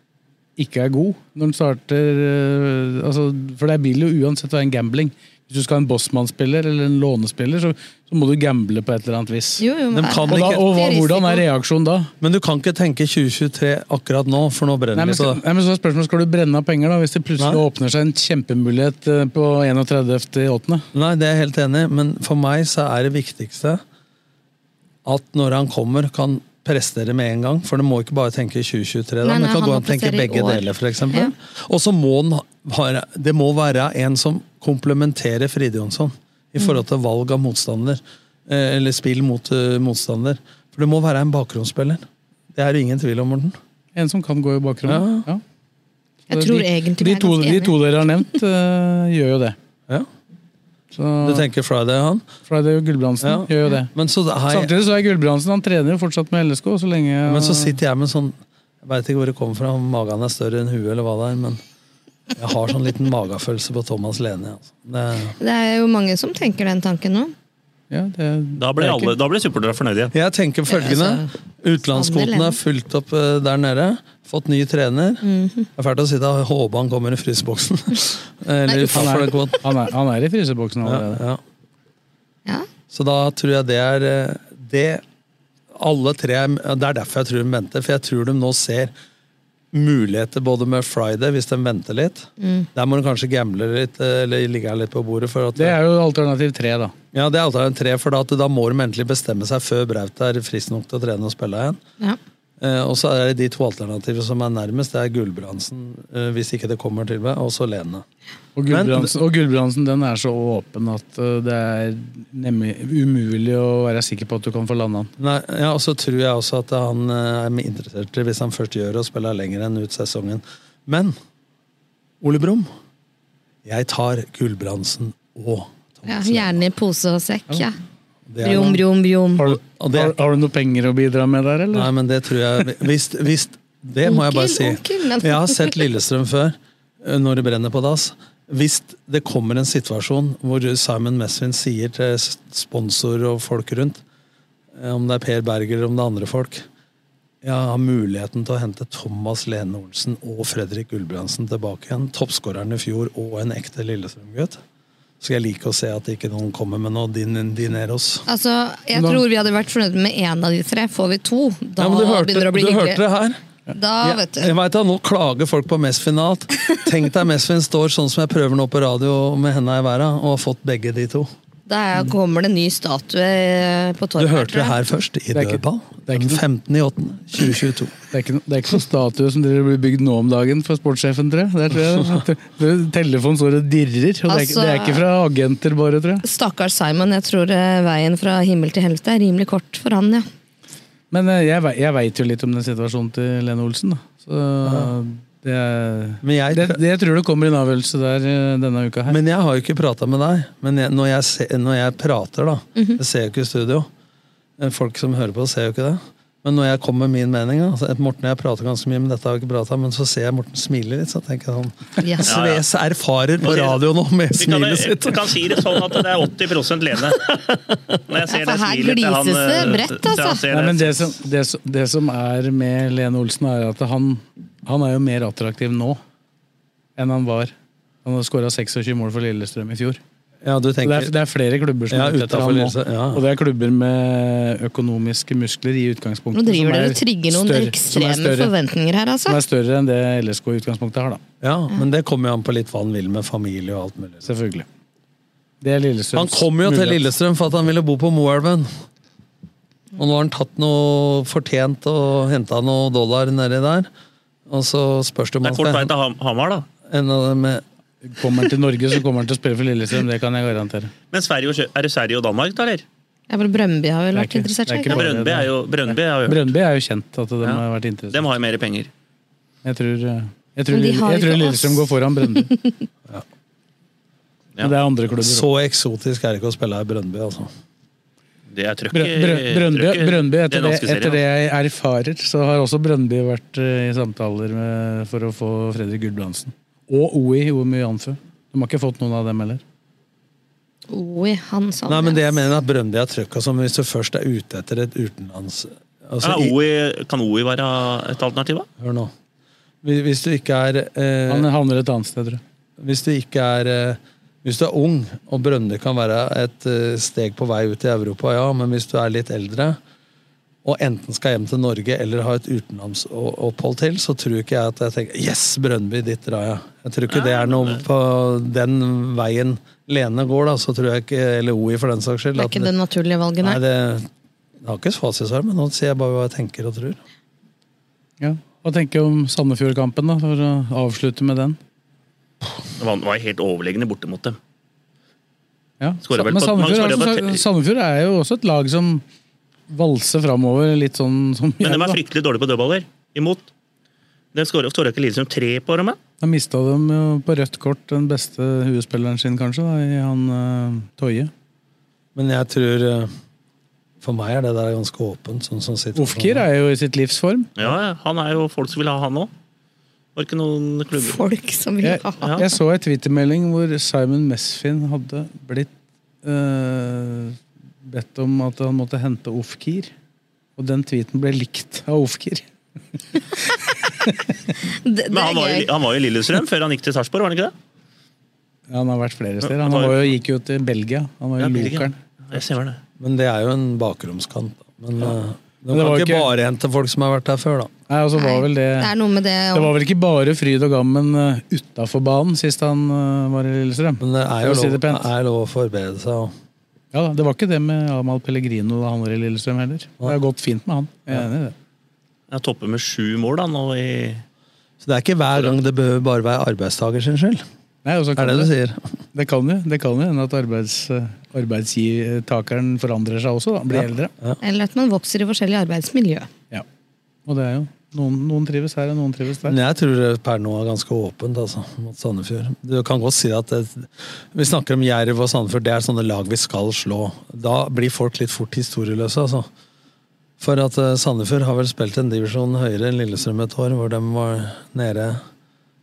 Speaker 2: ikke er god når den starter øh, altså, For det vil jo uansett være en gambling. Hvis Hvis du skal ha en bossmannsspiller eller en lånespiller, så, så må du gamble på et eller annet vis.
Speaker 1: Jo, jo, men
Speaker 2: De
Speaker 1: er-
Speaker 2: kan
Speaker 1: er
Speaker 2: ikke,
Speaker 1: det
Speaker 2: og hva,
Speaker 1: risiko?
Speaker 2: hvordan er reaksjonen da?
Speaker 5: Men du kan ikke tenke 2023 akkurat nå, for nå
Speaker 2: Nei,
Speaker 5: brenner
Speaker 2: men,
Speaker 5: det på
Speaker 2: skal,
Speaker 5: det.
Speaker 2: nei, men så er spørsmålet, skal du brenne av penger da, hvis det plutselig
Speaker 5: Nei.
Speaker 2: åpner seg en kjempemulighet eh, på 31.8.?
Speaker 5: Nei, det er jeg helt enig i, men for meg så er det viktigste at når han kommer, kan prestere med en gang. For du må ikke bare tenke 2023, da,
Speaker 2: Nei,
Speaker 5: men
Speaker 2: nei,
Speaker 5: det kan
Speaker 2: han
Speaker 5: gå
Speaker 2: må
Speaker 5: an å tenke
Speaker 2: prestere i
Speaker 5: begge
Speaker 2: år.
Speaker 5: deler, f.eks. eksempel. Og så må den ha- det må være en som komplementerer Fride Jonsson i
Speaker 2: Mm.
Speaker 5: forhold til valg av motstander. eh, Eller spill mot eh, motstander. For det må være en bakgrunnsspiller. Det er det ingen tvil om, Morten.
Speaker 2: En som kan gå i bakgrunnen. Ja.
Speaker 1: Jeg
Speaker 2: Så
Speaker 1: tror
Speaker 2: de,
Speaker 1: egentlig
Speaker 2: de
Speaker 1: jeg er
Speaker 2: to,
Speaker 1: ganske
Speaker 2: de
Speaker 1: enig.
Speaker 2: to dere har nevnt, eh, gjør jo det.
Speaker 5: Du tenker Friday, han?
Speaker 2: Friday og Gulbrandsen gjør jo det.
Speaker 5: Men så, har jeg-
Speaker 2: Samtidig så er Gulbrandsen han trener jo fortsatt med LSK så lenge
Speaker 5: Men så sitter jeg med sånn Jeg veit ikke hvor det kommer fra, om magen er større enn huet, eller hva det er, men jeg har sånn liten magefølelse på Thomas Lene. Altså. Det,
Speaker 1: Det er jo mange som tenker den tanken nå.
Speaker 6: Da ble, alle- da ble supporterne fornøyde.
Speaker 5: jeg tenker følgende. Utenlandskvoten er fulgt opp eh, der nede. Fått ny trener. Det er fælt å sitte og håpe han kommer i fryseboksen. Eller
Speaker 2: Han
Speaker 5: utenfor
Speaker 2: er,
Speaker 5: den kvoten.
Speaker 2: han, er, han er i fryseboksen allerede.
Speaker 5: Ja, Så da tror jeg det er eh, det alle tre Det er derfor jeg tror de venter, for jeg tror de nå ser muligheter både med Friday, hvis de venter litt.
Speaker 2: Mm.
Speaker 5: Der må de kanskje gamble litt, eh, eller ligge litt på bordet. For at,
Speaker 2: Det er jo alternativ tre, da.
Speaker 5: ja, det er alltid en tre, for da, at da må de endelig bestemme seg før Braut er frisk nok til å trene og spille igjen.
Speaker 1: Ja.
Speaker 5: Eh, og så er det de to alternativene som er nærmest, det er Gulbrandsen, eh, hvis ikke det kommer til meg, og så Lene.
Speaker 2: Og Gulbrandsen, og Gulbrandsen den er så åpen at uh, det er nemlig umulig å være sikker på at du kan få landa den.
Speaker 5: Nei, ja, og så tror jeg også at han eh, er interessert i, hvis han først gjør det, å spille lenger enn ut sesongen. Men Ole Brumm, jeg tar Gulbrandsen og
Speaker 1: Ja, gjerne i pose og sekk, ja.
Speaker 5: Det er
Speaker 1: Brum,
Speaker 5: noe-
Speaker 1: brum, brum.
Speaker 2: Har, du- har, har du noen penger å bidra med der, eller?
Speaker 5: Nei, men det tror jeg Hvis, hvis Det må jeg bare si.
Speaker 1: Onkel, onkel, men-
Speaker 5: Jeg har sett Lillestrøm før, eh, når det brenner på dass. Hvis det kommer en situasjon hvor Simon Mesvin sier til s- sponsor og folk rundt, eh, om det er Per Berg eller om det er andre folk Jeg har muligheten til å hente Thomas Lene Olsen og Fredrik Gulbrandsen tilbake igjen. Toppskåreren i fjor og en ekte Lillestrøm-gutt. Så jeg liker å se at ikke noen kommer med noe din, dineros.
Speaker 1: Altså, jeg
Speaker 5: Da-
Speaker 1: tror vi hadde vært fornøyd med én av de tre. Får vi to, da
Speaker 5: Ja, men du hørte-
Speaker 1: begynner det å bli
Speaker 5: du
Speaker 1: hyggelig.
Speaker 5: hørte det her.
Speaker 1: Da,
Speaker 5: Ja,
Speaker 1: vet du.
Speaker 5: Jeg vet at Nå klager folk på Mesfin og alt. Tenk deg Mesfin står sånn som jeg prøver nå på radio med henda i været, og har fått begge de to.
Speaker 1: Da er- kommer det en ny statue eh, på
Speaker 5: Du
Speaker 1: torget.
Speaker 5: hørte det her først, i dødball. Den 15. i 8. 2022.
Speaker 2: Det er ikke, no- det er ikke noen statue som dere blir bygd nå om dagen for sportssjefen, tror jeg. Det er, tror jeg. Det- Telefonen står og dirrer, og det er, ikke- det er ikke fra agenter bare, tror jeg.
Speaker 1: Stakkars Simon. Jeg tror eh, veien fra himmel til helvete er rimelig kort for han, ja.
Speaker 2: Men eh, jeg, ve- jeg veit jo litt om den situasjonen til Lene Olsen, da. Så det,
Speaker 5: Men jeg,
Speaker 2: det, det tror det kommer en avgjørelse der eh, denne uka her.
Speaker 5: Men jeg har jo ikke prata med deg. Men jeg, når, jeg se, når jeg prater, da Jeg ser jo ikke i studio. Eh, Folk som hører på, ser jo ikke det. Men når jeg kommer med min mening da, så- Morten og jeg prater ganske mye, men dette har jeg ikke prata men så ser jeg Morten smile litt. Så tenker jeg sånn
Speaker 6: Ja.
Speaker 5: Sves erfarer på radio nå med
Speaker 6: Vi kan,
Speaker 5: smilet sitt.
Speaker 6: vi kan si det sånn at det er 80 Lene. Når jeg ser
Speaker 1: for
Speaker 6: det
Speaker 1: her
Speaker 6: smilet til han,
Speaker 1: glises det
Speaker 6: eh,
Speaker 1: bredt,
Speaker 6: til han
Speaker 1: altså.
Speaker 6: ser
Speaker 2: Nei, men det,
Speaker 6: det-
Speaker 2: som, det, som, det som er med Lene Olsen, er at han, han er jo mer attraktiv nå enn han var. Han har skåra 26 mål for Lillestrøm i fjor.
Speaker 5: Ja, du
Speaker 2: Så
Speaker 5: tenker,
Speaker 2: det, er, det er flere klubber som
Speaker 5: Ja,
Speaker 2: er ute etter
Speaker 5: utenfor
Speaker 2: ham nå.
Speaker 5: Lillestrøm, ja.
Speaker 2: Og det er klubber med økonomiske muskler i utgangspunktet.
Speaker 1: Nå driver
Speaker 2: som
Speaker 1: dere
Speaker 2: er
Speaker 1: og trigger noen
Speaker 2: større- som er
Speaker 1: ekstreme
Speaker 2: større-
Speaker 1: forventninger her,
Speaker 2: Som
Speaker 1: altså.
Speaker 2: er større enn det LSK i utgangspunktet har, da.
Speaker 5: Ja, men det kommer jo an på litt hva han vil med familie og alt mulig.
Speaker 2: Selvfølgelig. Det er Lillestrøms
Speaker 5: Han kom jo til
Speaker 2: mulighet.
Speaker 5: Lillestrøm for at han ville bo på Moelven. Og nå har han tatt noe fortjent og henta noe dollar nedi der. Og så spørs det om
Speaker 6: Det er
Speaker 5: han
Speaker 6: kort vei
Speaker 5: skal
Speaker 6: til Ham- Hamar, da.
Speaker 5: ende av det med
Speaker 2: Kommer han til Norge, så kommer han til å spille for Lillestrøm. Det kan jeg garantere.
Speaker 6: Men Sverige og, Sjø- er det Sverige og Danmark, da, eller?
Speaker 1: Jeg bare Brøndby har vel
Speaker 2: Det er
Speaker 1: vært
Speaker 2: ikke-
Speaker 1: interessert.
Speaker 2: det er
Speaker 1: seg,
Speaker 2: ikke
Speaker 1: ikke?
Speaker 2: bare-
Speaker 6: Brøndby er jo Brøndby er jo,
Speaker 2: Brøndby er jo kjent at de har vært interessert.
Speaker 6: De har jo mer penger.
Speaker 2: Jeg tror, jeg tror,
Speaker 1: Men de
Speaker 2: jeg
Speaker 1: har jo
Speaker 2: tror
Speaker 1: ikke
Speaker 2: Lillestrøm
Speaker 1: oss.
Speaker 2: går foran Brøndby. Men det er andre klubber.
Speaker 5: Så eksotisk er det ikke å spille i Brøndby, altså.
Speaker 6: Det er trøkk
Speaker 2: Brø- Brø- Brøndby,
Speaker 6: trøkk-
Speaker 2: Brøndby
Speaker 6: det er
Speaker 2: etter,
Speaker 6: en
Speaker 2: det,
Speaker 6: danske serien,
Speaker 2: etter det jeg erfarer, så har også Brøndby vært eh, i samtaler med, for å få Fredrik Gulbrandsen. Og OI Omyanfø. De har ikke fått noen av dem heller.
Speaker 1: Oi, han sa
Speaker 5: Nei, men
Speaker 1: det.
Speaker 5: det jeg mener er at Brøndby er trøkka som hvis du først er ute etter et utenlands... Altså,
Speaker 6: ja,
Speaker 5: i,
Speaker 6: OI, kan OI være et alternativ, da?
Speaker 5: hør nå. Hvis hvis du ikke er eh,
Speaker 2: Han havner et annet sted, tror jeg.
Speaker 5: Hvis du ikke er eh, Hvis du er ung, og Brønnøy kan være et eh, steg på vei ut i Europa, ja, men hvis du er litt eldre, og enten skal hjem til Norge eller ha et utenlandsopphold til, så tror ikke jeg at jeg tenker Yes, Brønnby, dit drar jeg. Jeg tror ikke det er noe på den veien Lene går, da, så tror jeg ikke Eller OI, for den saks skyld.
Speaker 1: Det er
Speaker 5: at-
Speaker 1: ikke det naturlige valget,
Speaker 5: Nei,
Speaker 1: nei.
Speaker 5: det, jeg har ikke fasitsvar, men nå sier jeg bare hva jeg tenker og tror.
Speaker 2: Ja. Hva tenker du om Sandefjord-kampen, da, for å avslutte med den?
Speaker 6: Det var, var helt overlegne borte mot dem.
Speaker 2: Ja.
Speaker 6: Skårer vel
Speaker 2: Men
Speaker 6: på-
Speaker 2: Sandefjord,
Speaker 6: man skårer
Speaker 2: er
Speaker 6: på-
Speaker 2: også- Sandefjord er jo også et lag som valser framover, litt sånn som
Speaker 6: Men de
Speaker 2: jeg,
Speaker 6: er
Speaker 2: da.
Speaker 6: fryktelig dårlige på dødballer. Imot. De skårer skårer ikke Lillestrøm tre på dem, da?
Speaker 2: Da mista de jo på rødt kort den beste huespilleren sin, kanskje, da, i han eh, Toje.
Speaker 5: Men jeg tror eh, For meg er det der ganske åpent. sånn som sitter
Speaker 2: Ofkir er jo i sitt livs form.
Speaker 6: Ja, ja, han er jo folk som vil ha han òg. Var ikke noen klubber
Speaker 1: Folk som
Speaker 2: Jeg,
Speaker 6: Ja.
Speaker 2: jeg så ei twittermelding hvor Simon Mesfin hadde blitt eh, bedt om at han måtte hente Ofkir. Og den tweeten ble likt av Ofkir.
Speaker 6: Men han var, jo, han var jo i Lillestrøm før han gikk til Sarpsborg, var han ikke det?
Speaker 2: Ja, han har vært flere steder. Han var jo, gikk jo til Belgia. Han var jo
Speaker 6: Ja,
Speaker 2: i
Speaker 6: Belgia.
Speaker 2: Lokeren.
Speaker 6: Jeg ser det.
Speaker 5: Men det er jo en bakromskant. Da. Men
Speaker 2: Ja.
Speaker 5: eh, de
Speaker 2: Men det
Speaker 5: kan
Speaker 2: var
Speaker 5: ikke,
Speaker 2: ikke-
Speaker 5: bare hente folk som har vært der før, da.
Speaker 2: Nei, altså var vel det
Speaker 1: Det er noe med det
Speaker 2: Det var vel ikke bare fryd og gammen uh, utafor banen sist han eh, var i Lillestrøm?
Speaker 5: Men det er
Speaker 2: For
Speaker 5: jo
Speaker 2: å si
Speaker 5: lov,
Speaker 2: det pent.
Speaker 5: er lov å forberede seg. Og,
Speaker 2: Ja, da, Det var ikke det med Amahl Pellegrino da han var i Lillestrøm heller. Det har gått fint med han. Jeg er enig i det.
Speaker 6: Jeg topper med sju mål da, nå i
Speaker 5: så det er ikke hver gang det behøver bare være arbeidstaker sin skyld.
Speaker 2: Nei, og så kan
Speaker 5: Er det du sier?
Speaker 2: Det kan jo det kan jo hende at arbeids, eh, arbeidstakeren forandrer seg også, da, blir eldre.
Speaker 1: Eller at man vokser i forskjellige arbeidsmiljø.
Speaker 2: Og det er jo noen, noen trives her, og noen trives der.
Speaker 5: Men jeg tror det per nå er ganske åpent altså, mot Sandefjord. Du kan godt si at det, Vi snakker om Jerv og Sandefjord, det er sånne lag vi skal slå. Da blir folk litt fort historieløse, altså. For at eh, Sandefjord har vel spilt en divisjon høyere enn Lillestrøm et år, hvor de var nede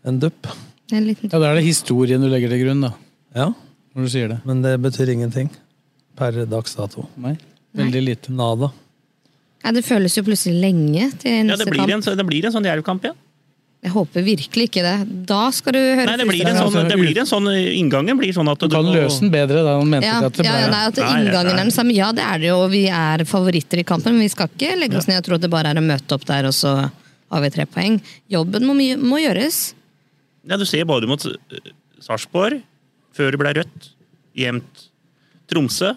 Speaker 5: en dupp.
Speaker 1: En liten
Speaker 2: Ja, Da er det historien du legger til grunn, da.
Speaker 5: Ja,
Speaker 2: Når du sier det.
Speaker 5: men det betyr ingenting per dags dato.
Speaker 2: Nei. Veldig lite.
Speaker 5: Nada.
Speaker 1: Nei, det føles jo plutselig lenge til
Speaker 6: Ja,
Speaker 1: neste
Speaker 6: det blir en,
Speaker 1: kamp.
Speaker 6: så- det blir en sånn Jerv-kamp igjen.
Speaker 1: Jeg håper virkelig ikke det. Da skal du høre
Speaker 6: Nei, det blir en
Speaker 1: fullstendig.
Speaker 6: sånn, det blir en sånn Inngangen blir sånn at
Speaker 2: Du kan
Speaker 6: må-
Speaker 2: løse den bedre da han mente
Speaker 1: ja,
Speaker 2: ikke at det
Speaker 1: ja, ja, nei, at
Speaker 6: Nei,
Speaker 1: inngangen
Speaker 6: nei.
Speaker 1: er den samme. Ja, det er det jo. og Vi er favoritter i kampen, men vi skal ikke legge oss ned og tro at det bare er å møte opp der, og så har vi tre poeng. Jobben må, mye- må gjøres.
Speaker 6: Ja, du ser både mot eh, Sarpsborg, før det ble rødt, jevnt. Tromsø,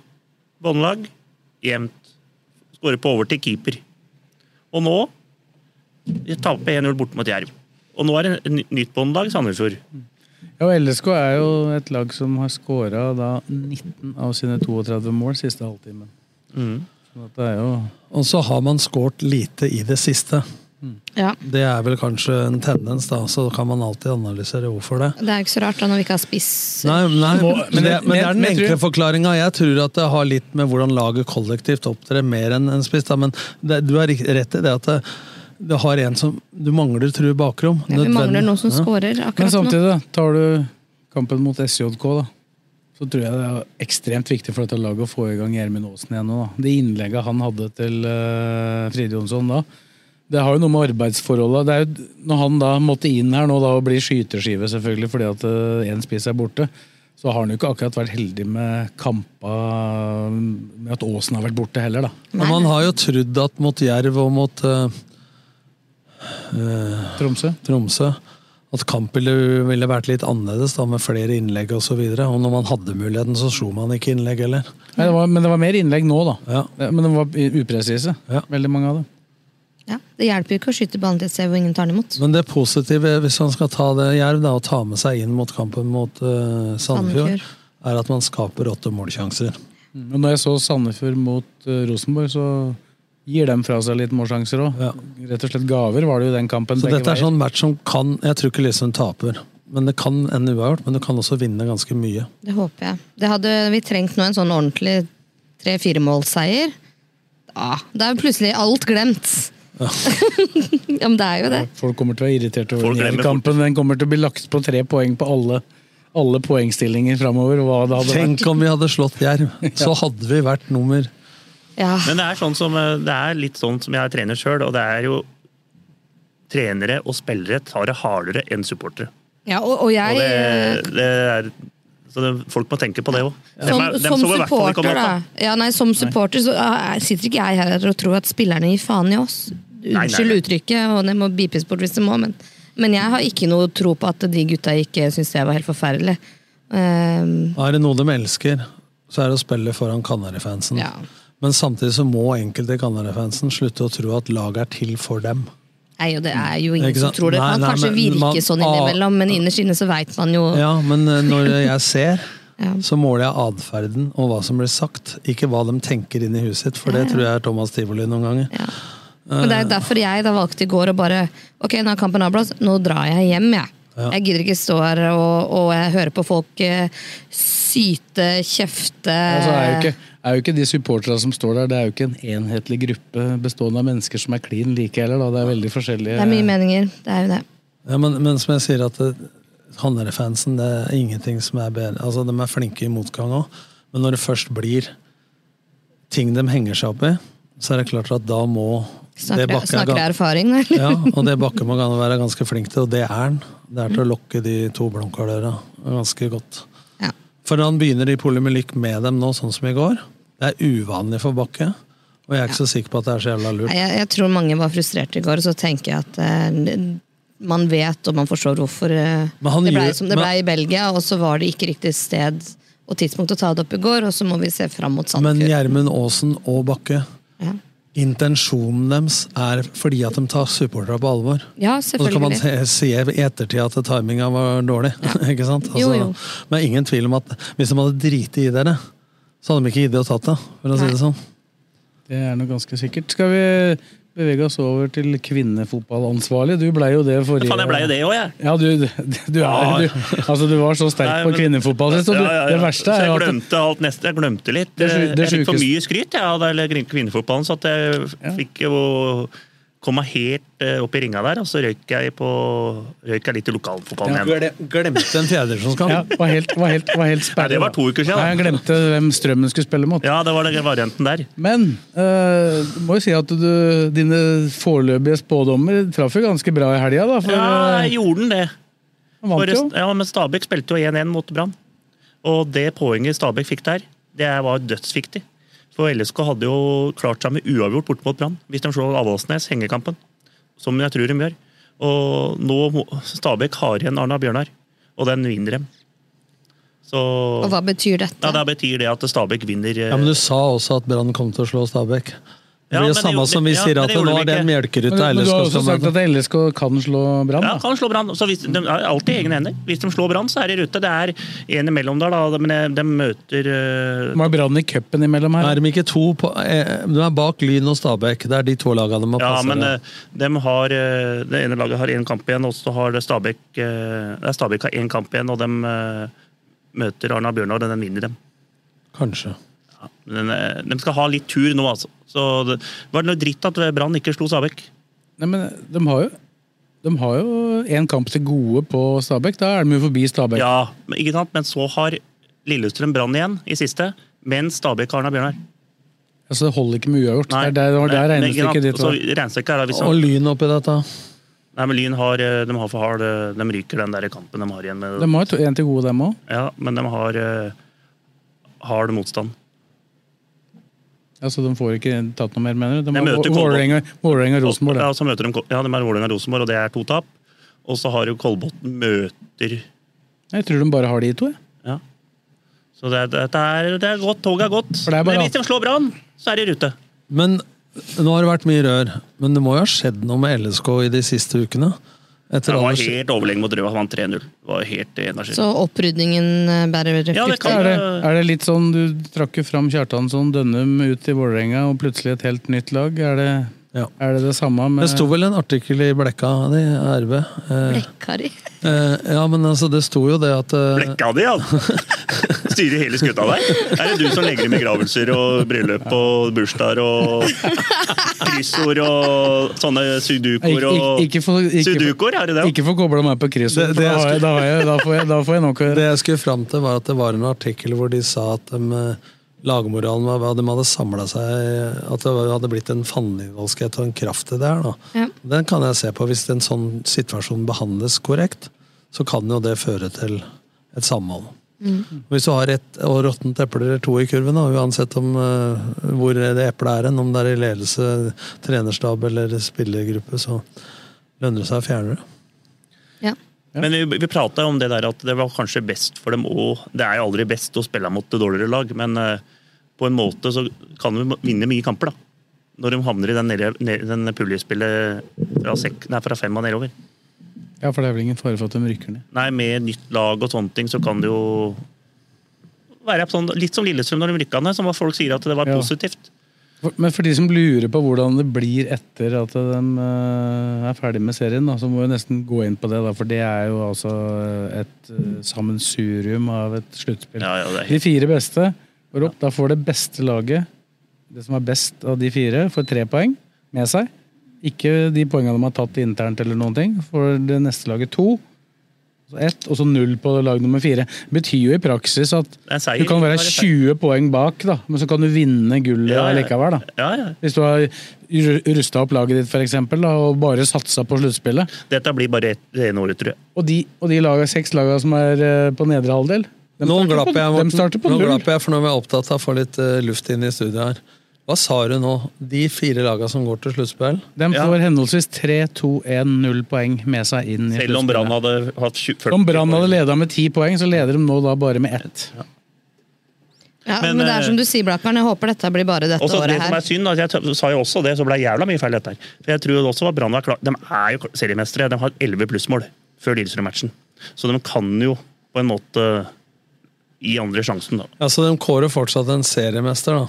Speaker 6: båndlag, jevnt. Skårer på overtid, keeper. Og nå de taper 1-0 borte mot Jerv. Og nå er det en ny- nytt båndlag, Sandefjord.
Speaker 2: Ja, og LSK er jo et lag som har skåra 19 av sine 32 mål siste halvtimen. Sånn at det er jo
Speaker 5: Og så har man skåret lite i det siste.
Speaker 1: Ja.
Speaker 5: Det er vel kanskje en tendens, da. Så kan man alltid analysere hvorfor det.
Speaker 1: Det er jo ikke så rart da når vi ikke har spiss.
Speaker 5: Nei, nei
Speaker 1: Må-
Speaker 5: men, det, men det er den
Speaker 1: men jeg tror-
Speaker 5: enkle forklaringa. Jeg tror at det har litt med hvordan laget kollektivt opptrer, mer enn en spiss. Da. Men det, du har rikt- rett i det at det, det har en som Du mangler true bakrom.
Speaker 1: Ja, vi mangler
Speaker 5: Nødvendig.
Speaker 1: noen som
Speaker 5: Ja.
Speaker 1: scorer
Speaker 2: Men
Speaker 1: akkurat nå.
Speaker 2: samtidig, da, tar du kampen mot SJK, da, så tror jeg det er ekstremt viktig for dette laget å få i gang Gjermund Aasen igjen nå. da. Det innlegget han hadde til uh, Fride Jonsson da, det har jo noe med arbeidsforholdet det er jo, Når han da måtte inn her nå da og bli skyterskive, selvfølgelig, fordi at én spiss er borte, så har han jo ikke akkurat vært heldig med kampa med at Aasen har vært borte heller, da.
Speaker 5: Men man har jo trodd at mot Jerv og mot eh, eh,
Speaker 2: Tromsø.
Speaker 5: Tromsø at kampbildet ville vært litt annerledes, da, med flere innlegg osv. Og, så videre. og når man hadde muligheten, så slo man ikke innlegg heller.
Speaker 2: Nei, det var, men det var mer innlegg nå, da.
Speaker 5: Ja.
Speaker 2: Det- Men de var i- upresise, veldig mange av dem.
Speaker 1: Ja, det hjelper jo ikke å skyte ballen til et sted hvor ingen tar den imot.
Speaker 5: Men det positive, hvis man skal ta det Jerv, da, og ta med seg inn mot kampen mot eh, Sandefjord,
Speaker 1: Sandefjord.
Speaker 5: er at man skaper åtte målsjanser.
Speaker 2: Og når jeg så Sandefjord mot eh, Rosenborg, så gir de fra seg litt målsjanser òg. Rett og slett gaver var det jo i den kampen.
Speaker 5: Så
Speaker 2: begge
Speaker 5: dette er
Speaker 2: veier.
Speaker 5: sånn match som kan Jeg tror ikke Lillestrøm taper. Men det kan ende uavgjort, men du kan også vinne ganske mye.
Speaker 1: Det håper jeg. Det hadde vi trengt nå en sånn ordentlig tre-firemålsseier. Ja, da er jo plutselig alt glemt. ja, men det er jo det.
Speaker 2: Folk kommer til å være irriterte over
Speaker 6: Folk
Speaker 2: den
Speaker 6: glemmer
Speaker 2: hele kampen. Den kommer til å bli lagt på tre poeng på alle, alle poengstillinger framover. Hva det hadde
Speaker 5: Tenk
Speaker 2: vært.
Speaker 5: om vi hadde slått Jerv! Så hadde vi vært nummer
Speaker 6: Men det er, sånn som, eh, det er litt sånn som jeg trener sjøl, og det er jo Trenere og spillere tar det hardere enn supportere.
Speaker 1: Ja, og, og jeg
Speaker 6: Og det, det er Så det, folk må tenke på det òg.
Speaker 1: Som, som supporter, da. Ja, nei, som supporter så eh, sitter ikke jeg her og tror at spillerne gir faen i oss.
Speaker 6: nei,
Speaker 1: Unnskyld
Speaker 6: nei.
Speaker 1: uttrykket, og det må bipes bort hvis det må, men, men jeg har ikke noe tro på at de gutta ikke syns jeg var helt forferdelig. Ehm,
Speaker 5: Er det noe de elsker, så er det å spille foran Canary-fansen.
Speaker 1: Ja.
Speaker 5: Men samtidig så må enkelte Canary-fansen slutte å tro at laget er til for dem. Mm.
Speaker 1: nei, og det er jo ingen
Speaker 5: Ikke
Speaker 1: som
Speaker 5: sant?
Speaker 1: tror det.
Speaker 5: Nei,
Speaker 1: Man
Speaker 5: nei,
Speaker 1: kanskje
Speaker 5: men
Speaker 1: virker
Speaker 5: man-
Speaker 1: sånn innimellom, men innerst inne så veit man jo
Speaker 5: Ja, men eh, når jeg ser, så måler jeg atferden og hva som blir sagt, ikke hva de tenker inn i huset sitt, for det
Speaker 1: Ja, ja.
Speaker 5: tror jeg er Thomas Tivoli noen ganger.
Speaker 1: Men det er jo
Speaker 5: Eh.
Speaker 1: derfor jeg da valgte i går å bare Ok, nå er kampen avblåst, nå drar jeg hjem, jeg.
Speaker 5: Ja.
Speaker 1: Jeg gidder ikke stå her og, og jeg hører på folk eh, syte, kjefte
Speaker 2: Og så Altså, er jo ikke, er jo ikke de supporterne som står der, det er jo ikke en enhetlig gruppe bestående av mennesker som er klin like heller. da, Det er veldig forskjellige
Speaker 1: Det er mye meninger. Det er jo det.
Speaker 5: Ja, men, men som jeg sier at eh, Hannerud-fansen, det er ingenting som er bedre. Altså, De er flinke i motgang òg, men når det først blir ting de henger seg opp i, så er det klart at da må det
Speaker 1: Snakker,
Speaker 5: Bakke er
Speaker 1: snakker
Speaker 5: ga-
Speaker 1: jeg erfaring, der?
Speaker 5: ja, og det Bakke må gane være ganske flink til, og det er han. Det er til å lokke de to blomkåløra ganske godt. For han begynner i polemikk med dem nå, sånn som i går. Det er uvanlig for Bakke, og jeg er ikke så sikker på at det er så jævla lurt.
Speaker 1: Nei, Jeg, jeg tror mange var frustrerte i går, og så tenker jeg at eh, man vet og man forstår hvorfor eh,
Speaker 5: Men han
Speaker 1: det ble
Speaker 5: gjør-
Speaker 1: som det ble
Speaker 5: men-
Speaker 1: i Belgia, og så var det ikke riktig sted og tidspunkt å ta det opp i går, og så må vi se fram mot Sandefjord.
Speaker 5: Men Gjermund Aasen og Bakke,
Speaker 1: Ja.
Speaker 5: intensjonen deres er fordi at de tar supporterne på alvor.
Speaker 1: Ja,
Speaker 5: Og så kan man
Speaker 1: selvfølgelig.
Speaker 5: se- si i ettertid at timinga var dårlig. ikke sant? Altså,
Speaker 1: Jo, jo.
Speaker 5: Men det er ingen tvil om at hvis de hadde driti i dere, så hadde de ikke giddet å tatt det. for å si det sånn.
Speaker 2: Det er noe ganske sikkert. Skal vi bevege oss over til kvinnefotballansvarlig? Du blei jo det forrige
Speaker 6: Faen, jeg ble jo det òg, jeg.
Speaker 2: Ja, du, du, du,
Speaker 6: Ja.
Speaker 2: er, du, altså, du var så sterk
Speaker 6: Nei,
Speaker 2: på
Speaker 6: men-
Speaker 2: kvinnefotball sist, og du,
Speaker 6: Ja, ja, ja.
Speaker 2: det verste
Speaker 6: Så
Speaker 2: er jo
Speaker 6: jeg
Speaker 2: at
Speaker 6: glemte alt neste. Jeg glemte litt. eh,
Speaker 2: Det sju- det
Speaker 6: jeg fikk for
Speaker 2: sjukeste-
Speaker 6: mye skryt jeg, av det- eller kvinnefotballen, så at jeg fikk jo komme helt eh, opp i ringa der, og så røyk jeg, på, røyk jeg litt i lokalfotballen igjen.
Speaker 5: Glemte en fjerdedivisjonskamp.
Speaker 2: ja, var helt, var helt, var helt
Speaker 6: Nei, det var to uker siden.
Speaker 2: Nei, jeg glemte hvem Strømmen skulle spille mot.
Speaker 6: Ja, det var den varianten der.
Speaker 2: Men eh, du må jo si at du, dine foreløpige spådommer traff jo ganske bra i helga, da. For,
Speaker 6: Ja,
Speaker 5: Eh,
Speaker 6: jeg gjorde den det.
Speaker 2: Han vant
Speaker 6: For-
Speaker 2: jo.
Speaker 6: Ja, men Stabæk spilte jo 1-1 mot Brann. Og det poenget Stabæk fikk der, det var dødsviktig. For LSK hadde jo klart seg med uavgjort borte mot Brann, hvis de slår Avaldsnes hengekampen. Som jeg tror de gjør. Og nå må- Stabæk har igjen Arna Bjørnar, og den vinner dem. Så
Speaker 1: Og hva betyr dette?
Speaker 6: ja, Da betyr det at Stabæk vinner. eh,
Speaker 5: Ja, Men du sa også at Brann kom til å slå Stabæk.
Speaker 6: Ja,
Speaker 5: Det blir
Speaker 6: men
Speaker 5: jo
Speaker 6: det
Speaker 5: samme
Speaker 6: gjorde-
Speaker 5: som vi
Speaker 6: ja,
Speaker 5: sier
Speaker 6: men
Speaker 5: at
Speaker 6: det
Speaker 5: nå
Speaker 6: gjorde
Speaker 5: er det
Speaker 6: de
Speaker 5: en
Speaker 2: Men,
Speaker 5: melkeruta
Speaker 2: men du
Speaker 5: LSK
Speaker 2: har også
Speaker 5: skal
Speaker 2: sagt
Speaker 5: møte.
Speaker 2: at LSK kan slå Brann, altså.
Speaker 6: Ja,
Speaker 2: da.
Speaker 6: kan slå Brann. Så hvis, de er alltid egne hender. Hvis de slår Brann, så er de i rute. Det er en imellom der, da. Men eh, de møter eh,
Speaker 2: Det var Brann i cupen imellom her.
Speaker 5: Er de ikke to på, eh, de er bak Lyn og Stabæk. Det er de to lagene de må
Speaker 6: Ja,
Speaker 5: passe.
Speaker 6: men
Speaker 5: da.
Speaker 6: eh, dem har, eh, det ene laget har én kamp igjen, og så har det Stabæk eh, nei, Stabæk har én kamp igjen, og de møter Arna Bjørnar, og den vinner dem.
Speaker 5: Kanskje.
Speaker 6: Men, eh, de skal ha litt tur nå, altså. Så det var noe dritt at eh, Brann ikke slo Stabæk.
Speaker 2: Nei, men eh, de har jo de har jo én kamp til gode på Stabæk. Da er de jo forbi Stabæk.
Speaker 6: Ja, men, ikke sant? men så har Lillestrøm Brann igjen i siste, mens Stabæk har Arna Bjørnar.
Speaker 2: Altså, det holder ikke med uavgjort. Det er der, det var der
Speaker 6: Men, ikke sant?
Speaker 2: regnestykket ditt
Speaker 6: Så
Speaker 2: var.
Speaker 6: regnestykket er da hvis
Speaker 5: Og Lyn oppi dette.
Speaker 6: Nei, men Lyn har, eh, de har for hard eh, De ryker den der kampen de har igjen med
Speaker 2: De har jo én til gode, dem òg.
Speaker 6: Ja, men de har eh, hard motstand.
Speaker 2: Altså, de får ikke tatt noe mer, mener du? De
Speaker 6: De
Speaker 2: har
Speaker 6: møter Kolbotn.
Speaker 2: Vålerenga Vålerenga og Rosenborg.
Speaker 6: Ja,
Speaker 2: da.
Speaker 6: og så møter de, Kol- ja, de er Vålerenga og Rosenborg, og det er to tap. Og så har jo Kolbotn møter
Speaker 2: Jeg tror de bare har de to. jeg.
Speaker 6: Ja. Så det, det, det, er, det er godt. Toget er godt.
Speaker 2: det er bare-
Speaker 6: Men hvis de slår Brann, så er de i rute.
Speaker 5: Men nå har det vært mye rør. Men det må jo ha skjedd noe med LSK i de siste ukene? Etter
Speaker 6: Det var
Speaker 5: alle sk-
Speaker 6: helt overlegen mot Røa, vant 3-0. Det var helt energi.
Speaker 1: Så opprydningen eh, bærer
Speaker 6: Ja, det kan-
Speaker 2: Er, det, er det litt sånn du trakk jo fram Kjartansson Dønnum ut i Vålerenga, og plutselig et helt nytt lag? Er det er det, det samme med
Speaker 5: Det sto vel en artikkel i Blekka di, RB. Eh,
Speaker 1: Blekkari.
Speaker 5: eh, ja, men altså, det sto jo det at eh,
Speaker 6: Blekka di, altså! Styrer hele skuta der. Er det du som legger i begravelser og bryllup og bursdager og kryssord og sånne sudokuer
Speaker 2: Ikke-
Speaker 6: og
Speaker 2: ikke- ikke for- ikke for-
Speaker 6: Sudokuer, er det det?
Speaker 2: Ikke få kobla meg på krysset, for
Speaker 5: Det-
Speaker 2: da,
Speaker 5: det jeg
Speaker 2: har jeg, da, har jeg, da, får jeg, da får jeg nok å gjøre.
Speaker 5: Det jeg skulle fram til, var at det var en artikkel hvor de sa at de, eh, lagmoralen var hva de hadde samla seg At det var- hadde blitt en fandenivoldskhet og en kraft i det her. Da.
Speaker 1: Ja.
Speaker 5: Den kan jeg se på. Hvis en sånn situasjon behandles korrekt, så kan jo det føre til et samhold. Og Hvis du har ett og råttent eple eller to i kurven, da, uansett om eh, hvor det eplet er hen, om det er i ledelse, trenerstab eller spillergruppe, så lønner det seg å fjerne det.
Speaker 6: Men vi, vi prata om det der at det var kanskje best for dem å Det er jo aldri best å spille mot det dårligere lag, men eh, på en måte så kan vi vinne mye kamper, da. Når de havner i den, nede, nede, den puljespillet fra, sek, nei, fra fem og nedover.
Speaker 2: Ja, for det er vel ingen fare for at de rykker ned.
Speaker 6: Nei, med nytt lag og sånne ting, så kan det jo være sånn, litt som Lillestrøm når de rykka ned, som hva folk sier at det var positivt.
Speaker 2: For- Men for de som lurer på hvordan det blir etter at de eh, er ferdig med serien, da, så må vi nesten gå inn på det, da, for det er jo altså eh, et eh, sammensurium av et sluttspill. De fire beste går opp. Da får det beste laget, det som er best av de fire, får tre poeng med seg. Ikke de poengene de har tatt internt, eller noen ting. Får det neste laget to. Så ett, og så null på lag nummer fire. Det betyr jo i praksis at
Speaker 6: Det er en seier.
Speaker 2: du kan være
Speaker 6: Det er en seier.
Speaker 2: 20 poeng bak, da, men så kan du vinne gullet
Speaker 6: Ja, ja, ja.
Speaker 2: likevel. Da.
Speaker 6: Ja, ja.
Speaker 2: Hvis du har rusta opp laget ditt for eksempel, da, og bare satsa på sluttspillet.
Speaker 6: Dette blir bare ett- det ene året, tror jeg.
Speaker 2: Og de, og de laga, seks laga som er eh, på nedre halvdel de
Speaker 5: Nå
Speaker 2: starter
Speaker 5: glapp
Speaker 2: på-
Speaker 5: jeg,
Speaker 2: de starter
Speaker 5: Morten.
Speaker 2: på
Speaker 5: Nå
Speaker 2: null.
Speaker 5: glapp jeg, for nå er jeg opptatt av å få litt eh, luft inn i studiet her. Hva sa du nå? De fire laga som går til sluttspill?
Speaker 2: De får henholdsvis 3-2-1-0 poeng med seg inn i
Speaker 6: Selv om Brann
Speaker 2: sluttspillet.
Speaker 6: hadde hatt 20, 40
Speaker 2: Om Brann hadde leda med ti poeng, så leder de nå da bare med ett.
Speaker 1: Ja,
Speaker 6: Men, eh,
Speaker 1: men, det er som du sier, Blakkaren, jeg håper dette blir bare dette
Speaker 6: Også det
Speaker 1: året
Speaker 6: som
Speaker 1: her.
Speaker 6: er synd, at jeg t- sa jo også det, så ble det jævla mye feil dette her. For jeg tror jo også at Brann var klar. De er jo kl- seriemestere. De har 11 plussmål før Lillestrøm-matchen. Så de kan jo på en måte gi andre sjansen, da.
Speaker 5: Altså, de kårer fortsatt en seriemester, da.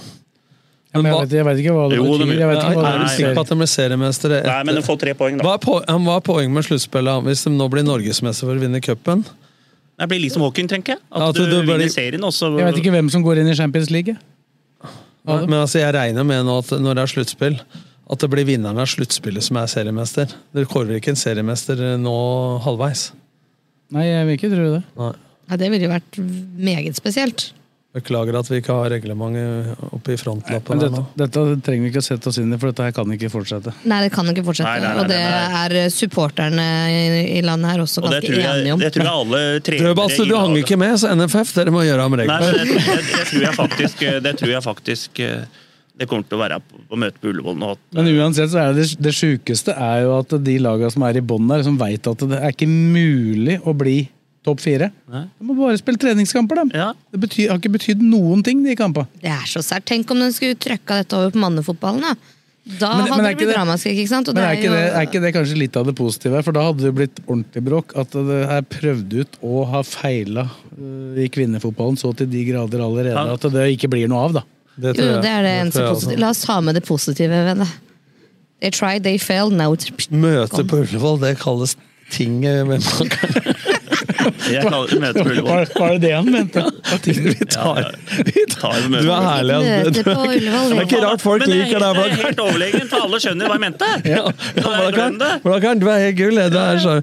Speaker 2: Men jeg, vet, jeg vet ikke hva det
Speaker 5: Jo, de-
Speaker 2: betyr. Jeg vet ikke hva
Speaker 5: Er
Speaker 2: det
Speaker 5: du sikker
Speaker 2: betyr.
Speaker 5: på at de blir seriemestere
Speaker 6: Nei, men de får tre poeng, da.
Speaker 5: Hva er, po ja, men hva er poenget med sluttspillet hvis de nå blir norgesmester for å vinne cupen?
Speaker 6: Det blir liksom Haaken, tenker jeg. At
Speaker 5: Ja, at
Speaker 6: du,
Speaker 5: du bare-
Speaker 6: vinner serien, og så
Speaker 2: Jeg vet ikke hvem som går inn i Champions League.
Speaker 5: Nei, Men altså, jeg regner med nå at når det er sluttspill, at det blir vinneren av sluttspillet som er seriemester. Dere kårer ikke en seriemester eh, nå halvveis.
Speaker 2: Nei, jeg vil ikke tro det.
Speaker 5: Nei.
Speaker 1: Ja, det ville jo vært meget spesielt.
Speaker 5: Beklager at vi ikke har reglementet oppe i
Speaker 2: Men
Speaker 5: frontlappen her
Speaker 2: dette,
Speaker 5: nå.
Speaker 2: dette trenger vi ikke å sette oss inn i, for dette her kan ikke fortsette.
Speaker 1: Nei, det kan ikke fortsette.
Speaker 2: Nei, nei, nei,
Speaker 1: og det er eh, supporterne i, i landet her også
Speaker 6: Og det
Speaker 1: ganske
Speaker 6: tror jeg,
Speaker 1: enige om.
Speaker 6: det tror jeg alle trenere
Speaker 5: Drøbak,
Speaker 6: i
Speaker 5: altså, du hang
Speaker 6: laget-
Speaker 5: ikke med, så NFF, dere må gjøre om
Speaker 6: Nei, men det,
Speaker 5: reglene.
Speaker 6: det, det, tror jeg faktisk, det tror jeg faktisk eh, det kommer til å være på, på møtet på Ullevål nå. at-
Speaker 2: Men uansett så er det det sjukeste er jo at de laga som er i bånn der, som veit at det er ikke mulig å bli topp fire.
Speaker 6: Nei.
Speaker 2: De må bare spille treningskamper, dem. Det betyr, har ikke betydd noen ting, de kampene.
Speaker 1: Det er så sært. Tenk om den skulle trøkka dette over på mannefotballen, da. Da
Speaker 2: Men- men
Speaker 1: hadde
Speaker 2: er
Speaker 1: det
Speaker 2: ikke
Speaker 1: blitt
Speaker 2: det-
Speaker 1: dramaskrik, ikke sant? Og
Speaker 2: Men er ikke,
Speaker 1: jo-
Speaker 2: det, er ikke det kanskje litt av det positive? For da hadde det blitt ordentlig bråk. At det er prøvd ut og har feila øh, i kvinnefotballen så til de grader allerede
Speaker 1: Ja.
Speaker 2: at det ikke blir noe av, da.
Speaker 1: jo, jo, det er det eneste positive. La oss ta med det positive ved det. They tried, they failed, now it's
Speaker 5: Møte på Ullevål, det kalles eh, tinget med
Speaker 6: Jeg kaller det møte på Ullevål.
Speaker 2: det det han mente?
Speaker 5: Vi tar, vi tar
Speaker 6: møte
Speaker 5: Du
Speaker 6: på
Speaker 5: er herlig. altså.
Speaker 6: Møte på Ullevål,
Speaker 5: Det er ikke
Speaker 6: ja.
Speaker 5: rart folk
Speaker 6: Men det er helt-
Speaker 5: liker deg,
Speaker 6: Det er
Speaker 5: Blakkaren.
Speaker 6: helt overlegent, for alle skjønner hva jeg mente.
Speaker 5: Ja,
Speaker 6: Så jeg
Speaker 5: Blakkaren,
Speaker 6: glem det.
Speaker 5: Blakkaren, du er helt gull. jeg. Du er så,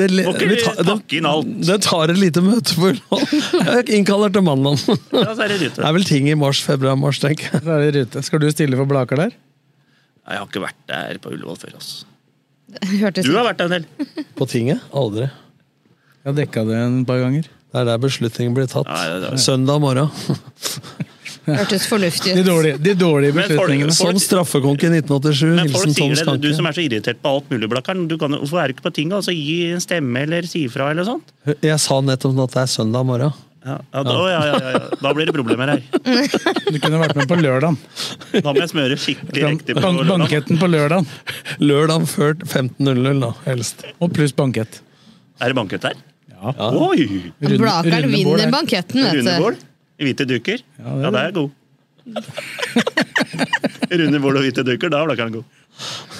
Speaker 5: det,
Speaker 6: Må ikke
Speaker 5: vi tar-
Speaker 6: pakke inn alt.
Speaker 5: det tar et lite møte på Ullevål. Jeg Innkaller til mandag.
Speaker 6: Ja, så er det
Speaker 5: Det
Speaker 6: rute.
Speaker 5: er vel ting i mars, februar-mars, tenker jeg.
Speaker 2: Så er det rute. Skal du stille for Blaker der?
Speaker 6: Nei, Jeg har ikke vært der på Ullevål før. Altså.
Speaker 1: Hørtes
Speaker 6: Du har vært der en del.
Speaker 5: På tinget? Aldri.
Speaker 2: Jeg har dekka det en par ganger.
Speaker 5: Det er der beslutningen blir tatt. Søndag morgen.
Speaker 1: hørtes fornuftig ut.
Speaker 2: de dårlige
Speaker 6: Men folk- beslutningene. folk-
Speaker 5: Sånn straffekonk i 1987.
Speaker 6: Men folk
Speaker 5: Hilsen Tom
Speaker 6: sier det, du
Speaker 5: Skanke.
Speaker 6: som er så irritert på alt mulig, Blakkaren. Du kan, jo- hvorfor er du ikke på tinget? Altså, gi en stemme eller si ifra eller sånt.
Speaker 5: Jeg sa nettopp at det er søndag morgen.
Speaker 6: Ja, ja, da, å, ja, ja, ja, ja. da blir det problemer her.
Speaker 2: Du kunne vært med på lørdagen.
Speaker 6: Da må jeg smøre skikkelig riktig. på
Speaker 2: Bank
Speaker 6: lørdag.
Speaker 2: banketten på lørdagen.
Speaker 5: Lørdag før 15.00, da, helst.
Speaker 2: Og pluss bankett.
Speaker 6: Er det banket her?
Speaker 2: Ja.
Speaker 6: Oi!
Speaker 2: Runde-
Speaker 1: Blakkaren
Speaker 2: rundebord
Speaker 1: vinner
Speaker 2: der.
Speaker 1: banketten,
Speaker 6: Rundebord?
Speaker 1: vet du.
Speaker 6: Hvite duker? Ja, det er god. Rundebord og hvite duker, da er Blakkaren god.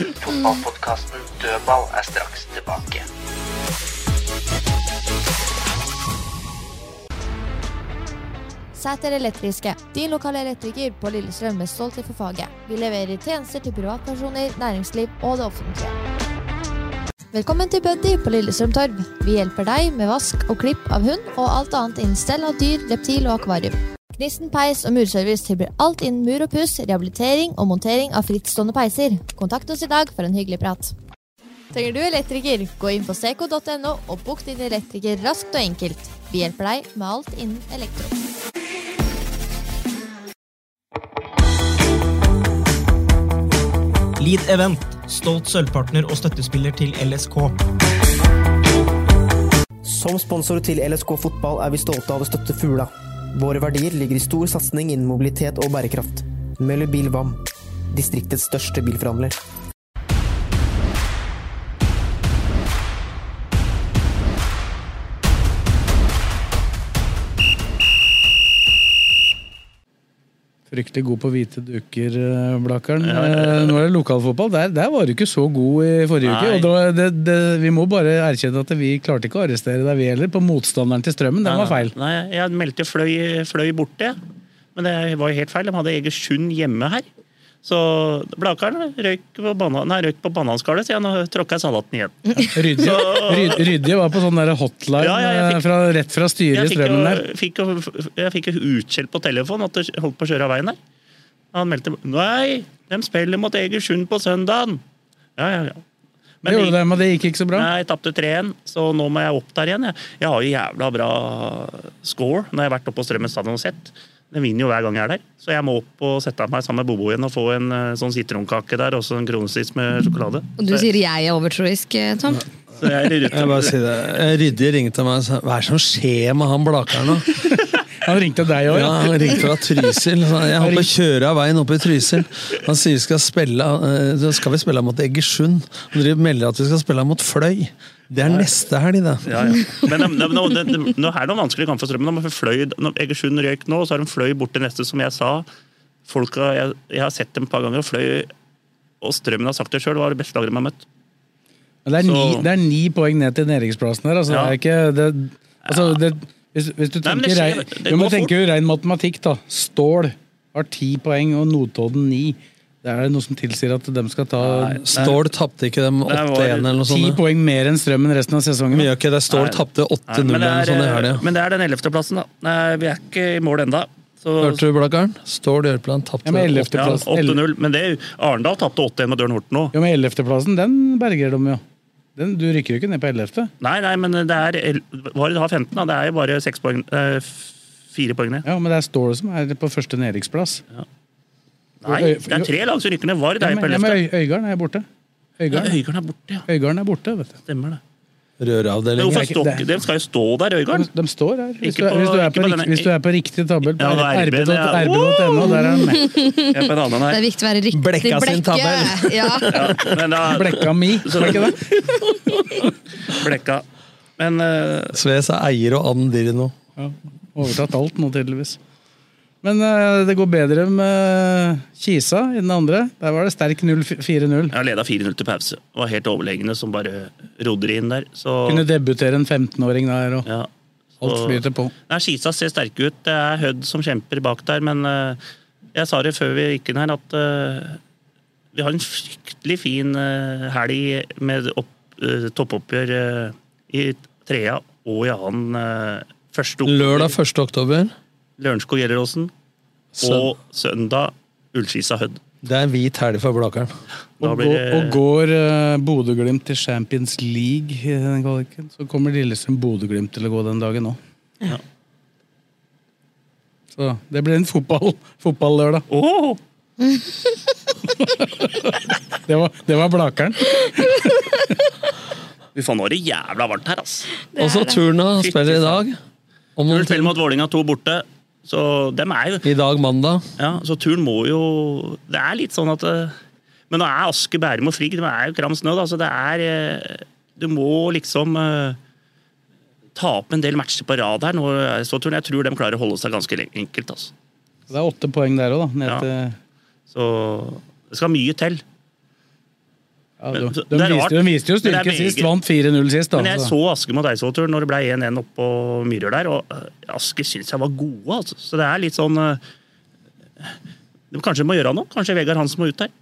Speaker 4: Fotballpodkasten Dødball er straks tilbake.
Speaker 8: Sæter Elektriske, din lokale elektriker på Lillestrøm med stolthet for faget. Vi leverer tjenester til privatpersoner, næringsliv og det offentlige. Velkommen til Buddy på Lillestrøm Torv. Vi hjelper deg med vask og klipp av hund og alt annet innen stell av dyr, reptil og akvarium. Knisten peis og murservice tilbyr alt innen mur og puss, rehabilitering og montering av frittstående peiser. Kontakt oss i dag for en hyggelig prat. Trenger du elektriker? Gå inn på seco.no og bok din elektriker raskt og enkelt. Vi hjelper deg med alt innen elektro.
Speaker 7: Lead Event, stolt sølvpartner og støttespiller til LSK.
Speaker 3: Som sponsor til LSK fotball er vi stolte av å støtte Fula. Våre verdier ligger i stor satsing innen mobilitet og bærekraft. Møller Bil VAM, distriktets største bilforhandler.
Speaker 2: Fryktelig god på hvite duker, eh, Blakkaren. Eh, Nå er det lokalfotball. Der, der var du ikke så god i forrige uke.
Speaker 6: Nei.
Speaker 2: Og da, det, det, vi må bare erkjenne at vi klarte ikke å arrestere deg, vi heller, på motstanderen til Strømmen. Den var feil.
Speaker 6: Nei, jeg meldte fløy, fløy borte, jeg. men det var jo helt feil. De hadde Egersund hjemme her. Så Blakaren røyk på, banan, nei, røyk på bananskallet, så jeg nå tråkka jeg salaten igjen.
Speaker 2: Rydje, ryd, rydje var på sånn der hotline
Speaker 6: Ja, ja, jeg
Speaker 2: eh,
Speaker 6: fikk-
Speaker 2: fra, rett fra styret i
Speaker 6: Jeg fikk,
Speaker 2: Strømmen der.
Speaker 6: jo, fikk, jo, jeg fikk jo utskjell på telefonen at det holdt på å kjøre av veien der. Han meldte Nei, de spiller mot Egersund på søndagen! Ja, ja, ja.
Speaker 2: Det gjorde de, men det gikk ikke så bra.
Speaker 6: Nei, jeg tapte 3-1, så nå må jeg opp der igjen. Jeg, jeg har jo jævla bra score når jeg har vært oppe på Strømmen stadion og sett. Den vinner jo hver gang jeg er der. Så jeg må opp og sette meg sammen med Bobo igjen og få en eh, sånn sitronkake der, også en kronesis med sjokolade.
Speaker 1: Og du
Speaker 6: Så-
Speaker 1: sier jeg er overtroisk, eh, Tom.
Speaker 6: så jeg er i rute.
Speaker 5: Jeg bare sier det. Ryddig ringte meg og sa hva er det som skjer med han Blakeren nå?
Speaker 2: Han ringte deg
Speaker 5: Ja, han ringte fra Trysil. Så Jeg holdt på å kjøre av veien opp i Trysil. Han sier vi skal spille eh, så skal vi spille mot Egersund. Han driver og melder at vi skal spille mot Fløy. Det er neste helg, det.
Speaker 6: Ja, ja. Men de, de, de, de, de, nå er det noen vanskelige kamper for Strømmen. De har fløy, når Egersund røyk nå, så har de fløy bort til neste, som jeg sa. Folk har, jeg, jeg har sett dem et par ganger, og fløy og Strømmen har sagt det sjøl, var det beste laget de har møtt.
Speaker 2: Men Det er,
Speaker 6: Så-
Speaker 2: ni, det er ni poeng ned til nedrykksplassen her. Altså,
Speaker 6: Ja.
Speaker 2: det er ikke, det, altså, det, hvis, hvis du
Speaker 6: Nei, men
Speaker 2: tenker,
Speaker 6: det skjer-
Speaker 2: rein,
Speaker 6: det
Speaker 2: jo, men
Speaker 6: går fort.
Speaker 2: tenker jo rein matematikk, da. Stål har ti poeng og Notodden ni. Det er noe som tilsier at de skal ta
Speaker 5: Stål tapte ikke dem 8-1 eller noe
Speaker 2: Ti
Speaker 5: sånt.
Speaker 2: poeng mer enn strømmen resten av sesongen.
Speaker 5: Mye ikke det. Stål
Speaker 6: Nei.
Speaker 5: tapte 8-0
Speaker 6: Nei, men det
Speaker 5: eller noe
Speaker 6: er,
Speaker 2: sånn
Speaker 6: eh,
Speaker 5: sånt i helga.
Speaker 6: Men det er den ellevteplassen, da. Nei, vi er ikke i mål enda. Så,
Speaker 5: Hørte du, Blakkaren? Stål Jørpeland tapte
Speaker 6: Ja, men
Speaker 5: 8-0.
Speaker 6: 8-0. Men det, er jo- Arendal tapte 8-1 med Dørn Horten òg.
Speaker 2: Jo, men ellevteplassen, den berger de jo. Den, du rykker jo ikke ned på ellevte.
Speaker 6: Nei, nei, men det er el- Hva er det da, 15? da? Det er jo bare seks poeng eh, f- Fire poeng ned.
Speaker 2: Ja, men det er Stål som er på første nedrykksplass.
Speaker 6: Nei, det er tre lag som rykker ned. Var det
Speaker 2: Ja,
Speaker 6: deg
Speaker 2: men,
Speaker 6: på
Speaker 2: ja, men
Speaker 6: ellevte?
Speaker 2: Øy- Øygarden er borte.
Speaker 6: Ja,
Speaker 2: Øygarden,
Speaker 6: Øygarden er borte, ja.
Speaker 2: Øygarden er borte, vet du.
Speaker 6: Stemmer det. Men
Speaker 5: Røravdelingen.
Speaker 6: hvorfor står ikke De skal jo stå der, Øygarden.
Speaker 2: De står her. Hvis,
Speaker 6: Ikke
Speaker 2: du, er-
Speaker 6: på-
Speaker 2: hvis, du, er
Speaker 6: ikke
Speaker 2: på
Speaker 6: på
Speaker 2: rikt,
Speaker 6: denne-
Speaker 2: hvis du er på riktig tabell på
Speaker 6: Ja, det er RB, det er-
Speaker 2: rb.no, der er han med.
Speaker 6: Jeg er på en
Speaker 1: Det
Speaker 6: annen her.
Speaker 1: er viktig å være riktig
Speaker 2: Blekka sin tabell.
Speaker 1: Ja.
Speaker 6: Ja, men da,
Speaker 2: Blekka mi,
Speaker 6: så,
Speaker 2: var det ikke det?
Speaker 6: blekka. Men eh,
Speaker 5: Sves er eier og Ann Dirino.
Speaker 2: Overtatt alt nå, tydeligvis. Men eh, det går bedre med eh, Kisa i den andre. Der var det sterk 0 4-0.
Speaker 6: jeg leda 4-0 til pause. Var helt overlegne som bare rodde inn der. Så
Speaker 2: Kunne debutere en 15-åring der, og
Speaker 6: ja.
Speaker 2: alt
Speaker 6: Så-
Speaker 2: flyter på.
Speaker 6: Nei, Skisa ser sterke ut. Det er Hødd som kjemper bak der, men eh, jeg sa det før vi gikk inn her, at eh, vi har en fryktelig fin eh, helg med opp, eh, toppoppgjør eh, i trea og i annen eh, første oktober.
Speaker 5: Lørdag 1. oktober.
Speaker 6: Lørenskog-Gjelleråsen. Og søndag Ullskisa-Hødd.
Speaker 5: Det er hvit helg for Blakeren.
Speaker 6: Da
Speaker 2: Og,
Speaker 6: blir
Speaker 2: gå,
Speaker 6: det-
Speaker 2: og går eh, Bodø-Glimt til Champions League i den kvaliken, så kommer Lillestrøm Bodø-Glimt til å gå den dagen òg.
Speaker 6: Ja.
Speaker 2: Så det blir en fotball fotballørdag.
Speaker 6: Åh!
Speaker 2: Det var, det var Blakeren.
Speaker 6: Fy faen, nå er det jævla varmt her, ass.
Speaker 5: Og så Turna spiller i dag. Om
Speaker 6: Turn
Speaker 5: noen
Speaker 6: spiller mot Vålinga 2 borte, så dem er jo
Speaker 5: I dag, mandag.
Speaker 6: Ja, så turen må jo Det er litt sånn at eh, Men nå er Aske, Bærum og Frigg, det er jo kram snø, da, så det er eh, Du må liksom eh, ta opp en del matcher på rad her. Nå er så turen. Jeg tror de klarer å holde seg ganske le- enkelt, altså.
Speaker 2: Det er åtte poeng der òg, da. Ned
Speaker 6: Ja.
Speaker 2: til,
Speaker 6: Så det skal mye til.
Speaker 2: ja,
Speaker 6: Men-
Speaker 2: de,
Speaker 6: så
Speaker 2: de,
Speaker 6: det er rart,
Speaker 2: viste, de viste jo
Speaker 6: men det er
Speaker 2: styrke sist,
Speaker 6: meget-
Speaker 2: vant 4-0 sist. Da, altså.
Speaker 6: Men jeg
Speaker 2: så.
Speaker 6: så Aske mot Eidsvollturen når det ble 1-1 oppå Myhrør der, og eh, Aske syns jeg var gode, altså. Så det er litt sånn eh, de Kanskje må gjøre noe? Kanskje Vegard Hansen må ut der?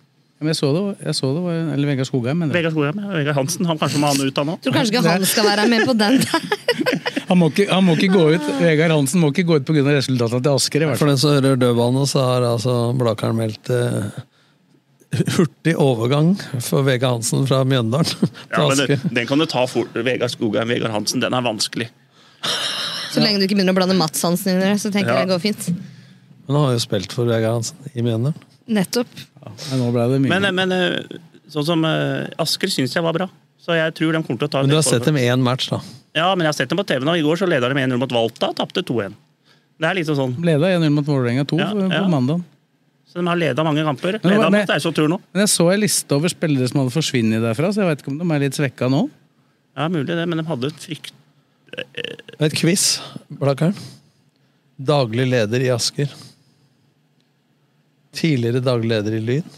Speaker 2: Men jeg så det, jeg så det var, eller Vegard Skogheim, mener jeg.
Speaker 6: Vegard Skogheim, ja. Vegard Hansen, han kanskje må ha han ut da nå?
Speaker 1: Tror kanskje ikke han skal være med på den der.
Speaker 2: Han må, ikke, han må ikke gå ut, Vegard Hansen må ikke gå ut pga. resultatet til Asker, i hvert
Speaker 5: For
Speaker 2: fall.
Speaker 5: den som hører dødbanen, så har altså Blakeren meldt eh, hurtig overgang for VG Hansen fra Mjøndalen til
Speaker 6: Ja, men
Speaker 5: Aske.
Speaker 6: den, den kan du ta fort. Vegard Skogheim, Vegard Hansen, den er vanskelig.
Speaker 1: Så lenge du ikke begynner å blande Mats-sansen inn i det, så tenker
Speaker 5: Ja.
Speaker 1: jeg det går fint.
Speaker 5: Men han har jo spilt for Vegard Hansen i Mjøndalen.
Speaker 1: Nettopp.
Speaker 5: nå ble det
Speaker 6: Men, men eh, sånn som eh, Asker syns jeg var bra. Så jeg tror de kommer til å ta
Speaker 5: Men du har sett dem én match, da.
Speaker 6: Ja, men jeg har sett dem på TV nå. I går så leda de 1-0 mot Valta, tapte 2-1. Det er liksom sånn.
Speaker 2: Leda 1-0 mot Vålerenga 2
Speaker 6: Ja,
Speaker 2: på-
Speaker 6: ja.
Speaker 2: på mandag.
Speaker 6: Så de har leda mange kamper.
Speaker 2: Men-
Speaker 6: Leda
Speaker 2: men-
Speaker 6: mot Eidsvoll-tur nå.
Speaker 2: Men jeg så ei liste over spillere som hadde forsvunnet derfra, så jeg veit ikke om de er litt svekka nå.
Speaker 6: Ja, mulig det, men de hadde et frykt...
Speaker 5: Et quiz, Blakkaren. Daglig leder i Asker. Tidligere daglig leder i Lyn.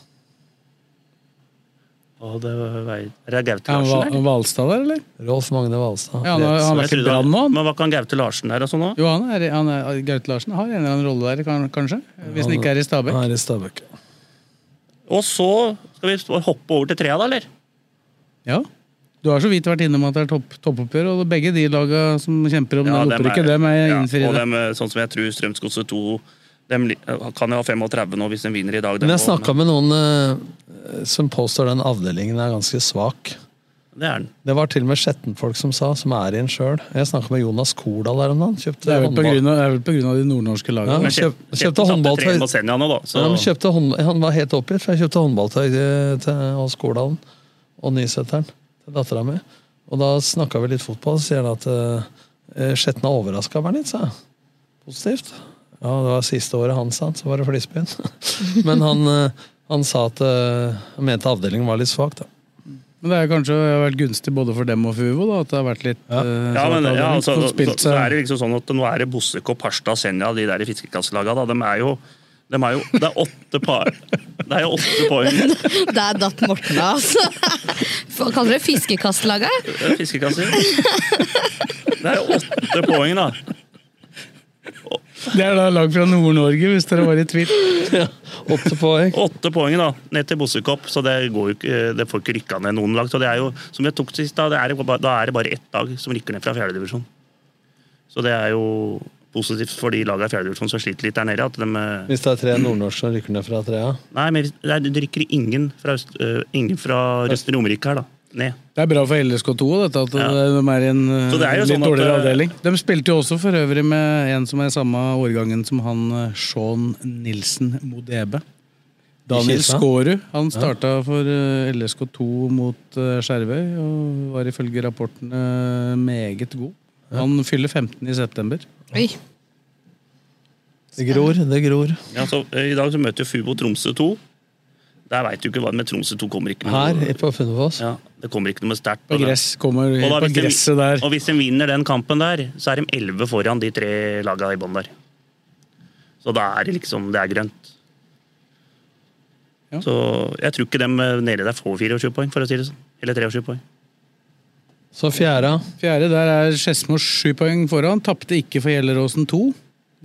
Speaker 6: Å, det var, er det Gaute
Speaker 2: Er
Speaker 6: Larsen,
Speaker 2: han
Speaker 6: eller?
Speaker 2: Val- Valstad der, eller?
Speaker 5: Rolf Magne Valstad.
Speaker 2: Ja, han har- han har
Speaker 6: Jeg
Speaker 2: vært i
Speaker 6: trodde
Speaker 2: Brann nå, han.
Speaker 6: Men var ikke han Gaute Larsen der og sånn òg?
Speaker 2: Jo, han er, han er, Gaute Larsen har en eller annen rolle der, kan- kanskje? Hvis han ikke er i Stabæk.
Speaker 5: Han er i Stabæk.
Speaker 6: Og så skal vi hoppe over til trea, da, eller?
Speaker 2: Ja. Du har så vidt vært innom at det er topp, toppoppgjør, og begge de laga som kjemper om
Speaker 6: Ja,
Speaker 2: ja,
Speaker 6: dem er-
Speaker 2: opprykket, dem er
Speaker 6: ja,
Speaker 2: innfridde.
Speaker 6: Og dem, eh, sånn som jeg tror Strømsgodset 2 dem li- eh, kan jo ha 35 nå hvis de vinner i dag. dem
Speaker 5: Men jeg
Speaker 6: også,
Speaker 5: snakka med noen eh, som påstår den avdelingen er ganske svak.
Speaker 6: men det er den.
Speaker 5: Det var til og med Skjetten-folk som sa, som er i en sjøl. Jeg snakka med Jonas Kordal der om dagen. Kjøpte
Speaker 2: Det er vel på
Speaker 5: håndball-
Speaker 2: grunn av, det er vel på grunn av de nordnorske
Speaker 5: Ja,
Speaker 2: lagene.
Speaker 5: men kjøp- kjøpte håndball
Speaker 6: tre
Speaker 5: til-
Speaker 6: mot Senja nå, da. Så
Speaker 5: Ja, de kjøpte hånd, han var helt oppgitt, for jeg kjøpte håndballtøy til, til oss Kordalen og Nyseteren til dattera mi. Og da snakka vi litt fotball, så sier han at eh, Skjetna overraska meg litt, sa jeg. Positivt. Ja, det var siste året hans, sant, så var det Flisbyen. Men han, eh, han sa at eh, han mente avdelingen var litt svak, da.
Speaker 2: Men det er kanskje det har vært gunstig både for dem og for Uvo, da, at det har vært litt eh, sånn Ja,
Speaker 6: ja, men, ja, altså, så, så,
Speaker 2: spilt
Speaker 6: så er
Speaker 2: seg
Speaker 6: det liksom sånn at nå er det Bossekopp, Harstad, Senja, de der i fiskekasselagene, da. De er jo, de er jo Det er åtte par Det er jo åtte poeng
Speaker 1: Der datt Morten av, altså. Hva kaller dere fiskekastlaget?
Speaker 6: fiskekasser. eh, Det er jo åtte poeng, da.
Speaker 2: Det er da lag fra Nord-Norge, hvis dere var i tvil.
Speaker 5: Åtte poeng.
Speaker 6: Åtte poeng da, ned til Bossekopp, så det, går jo, ikke- eh, det får ikke rykka ned noen lag. Så det er jo, som jeg tok sist, da, det er, jo ba- da er det bare ett lag som rykker ned fra fjerdedivisjon. Så det er jo positivt for de lagene i fjerdedivisjon som sliter litt der nede. at de... eh,
Speaker 5: Hvis det er tre nordnorske som rykker ned fra trea.
Speaker 6: Nei, men det er- det rykker ingen fra, øst, eh, ingen fra Østre Romerike her, da. Ned.
Speaker 2: Det er bra for LSK2 dette, at de er i en eh,
Speaker 6: Så det er jo
Speaker 2: litt
Speaker 6: sånn at,
Speaker 2: dårligere
Speaker 6: eh,
Speaker 2: avdeling. De spilte jo også for øvrig med en som er samme årgangen som han eh, Sean Nilsen Modebe. Daniel
Speaker 5: Kilsa?
Speaker 2: Skårud. Han
Speaker 5: Ja.
Speaker 2: starta for eh, LSK2 mot eh, Skjervøy og var ifølge rapportene meget god. Han fyller 15 i september.
Speaker 1: Oi.
Speaker 5: Det gror, det gror.
Speaker 6: Ja, så, eh, I dag så møter jo Fubo Tromsø 2. Der veit du ikke hva men Tromsø 2 kommer ikke med
Speaker 5: Her
Speaker 6: noe.
Speaker 5: på Funnefoss.
Speaker 6: Ja, det kommer ikke noe sterkt.
Speaker 2: På
Speaker 6: Og da-
Speaker 2: gress kommer
Speaker 6: og da
Speaker 2: på
Speaker 6: hvis de-
Speaker 2: gresset der.
Speaker 6: Og hvis de vinner den kampen der, så er de elleve foran de tre laga i bånn der. Så da er det liksom Det er grønt. Så jeg tror ikke dem eh, nede der får 24 poeng, for å si det sånn. Eller 23 poeng.
Speaker 5: Så fjerde.
Speaker 2: Fjerde, der er Skedsmo sju poeng foran. Tapte ikke for Gjelleråsen 2.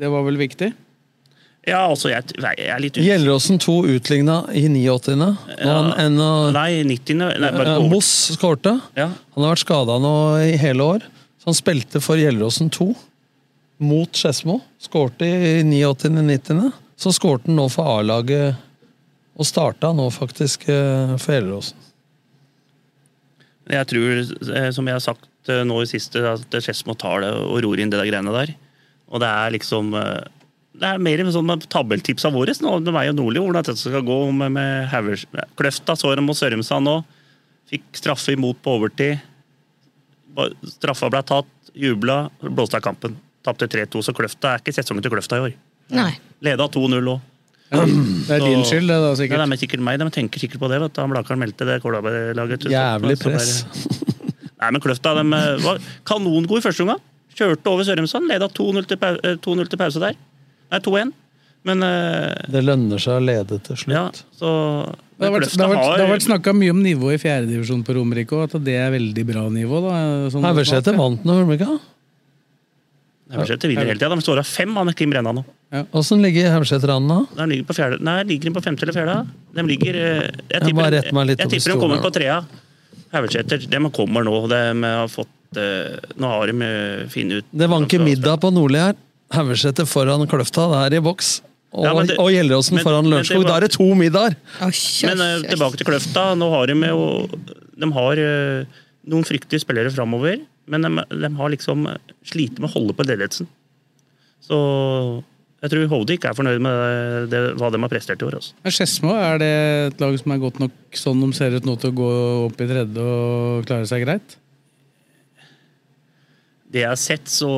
Speaker 2: Det var vel viktig?
Speaker 6: Ja, altså, jeg, t- nei, jeg er litt
Speaker 5: Gjelleråsen 2 utligna i 89. Nå
Speaker 6: Ja.
Speaker 5: han en av
Speaker 6: Nei, 90 nei, bare
Speaker 5: Eh,
Speaker 6: over-
Speaker 5: Moss skårte. Han har vært skada nå i hele år. Så han spilte for Gjelleråsen 2 mot Skedsmo. Skårte i 89.-90. Så skårte han nå for A-laget, og starta nå faktisk eh, for Gjelleråsen.
Speaker 6: Jeg tror, eh, som jeg har sagt eh, nå i siste, at Skedsmo tar det og ror inn det der greiene der. Og det er liksom eh, Det er mer sånn med tabelltipsa våre nå, med meg og Nordli, hvordan dette skal gå med, med Havers- Kløfta så dem mot Sørumsand nå. Fikk straffe imot på overtid. Ba- Straffa ble tatt, jubla, blåste av kampen. Tapte 3-2, så Kløfta er ikke sesongen til Kløfta i år.
Speaker 1: Nei.
Speaker 6: Leda 2-0 òg.
Speaker 2: Det er din skyld, det da, sikkert.
Speaker 6: Ja, det er sikkert meg. De tenker sikkert på det. vet du. Han Blakaren meldte det kålabelaget.
Speaker 5: Jævlig press.
Speaker 6: Nei, men Kløfta de eh, var kanongod i første omgang. Kjørte over Sørumsand, leda 2-0 til, pau- eh, 2-0 til pause der. Nei, 2-1. Men eh,
Speaker 5: Det lønner seg å lede til slutt.
Speaker 6: så
Speaker 2: Det har
Speaker 6: men
Speaker 2: vært, det har vært, det har vært snakka mye om nivået i fjerdedivisjon på Romerike, og at det er veldig bra nivå. da. Sånn
Speaker 5: Haugeseter vant nå, gjorde de ikke?
Speaker 6: Haugeseter vinner hele tida. De står av fem av Kim Brenna nå.
Speaker 5: Åssen ligger Haugeseter an nå?
Speaker 6: De ligger på fjerde. Nei, ligger de på femte eller fjerde? De ligger eh, Jeg
Speaker 5: Jeg bare
Speaker 6: tipper,
Speaker 5: retter meg litt
Speaker 6: jeg
Speaker 5: opp i
Speaker 6: tipper de
Speaker 5: stolen
Speaker 6: kommer
Speaker 5: her
Speaker 6: på trea. Haugeseter, de kommer nå. De har fått eh, Nå har de eh, funnet ut
Speaker 5: Det vanker middag på Nordli her. Haugeseter foran Kløfta, det er i boks. Og,
Speaker 6: Ja, men det-
Speaker 5: og Gjelleråsen
Speaker 6: men-
Speaker 5: foran
Speaker 6: men det
Speaker 5: Lørenskog.
Speaker 6: var-
Speaker 5: Da er det to middager!
Speaker 6: Men eh, tilbake til Kløfta. Nå har de jo De har eh, noen fryktelige spillere framover. Men de, de har liksom slitt med å holde på ledelsen. Så jeg tror Hovde ikke er fornøyd med eh, det, hva de har prestert i år. Altså.
Speaker 2: Men Skedsmo, er det et lag som er godt nok sånn de ser ut nå til å gå opp i tredje og klare seg greit?
Speaker 6: Det jeg har sett, så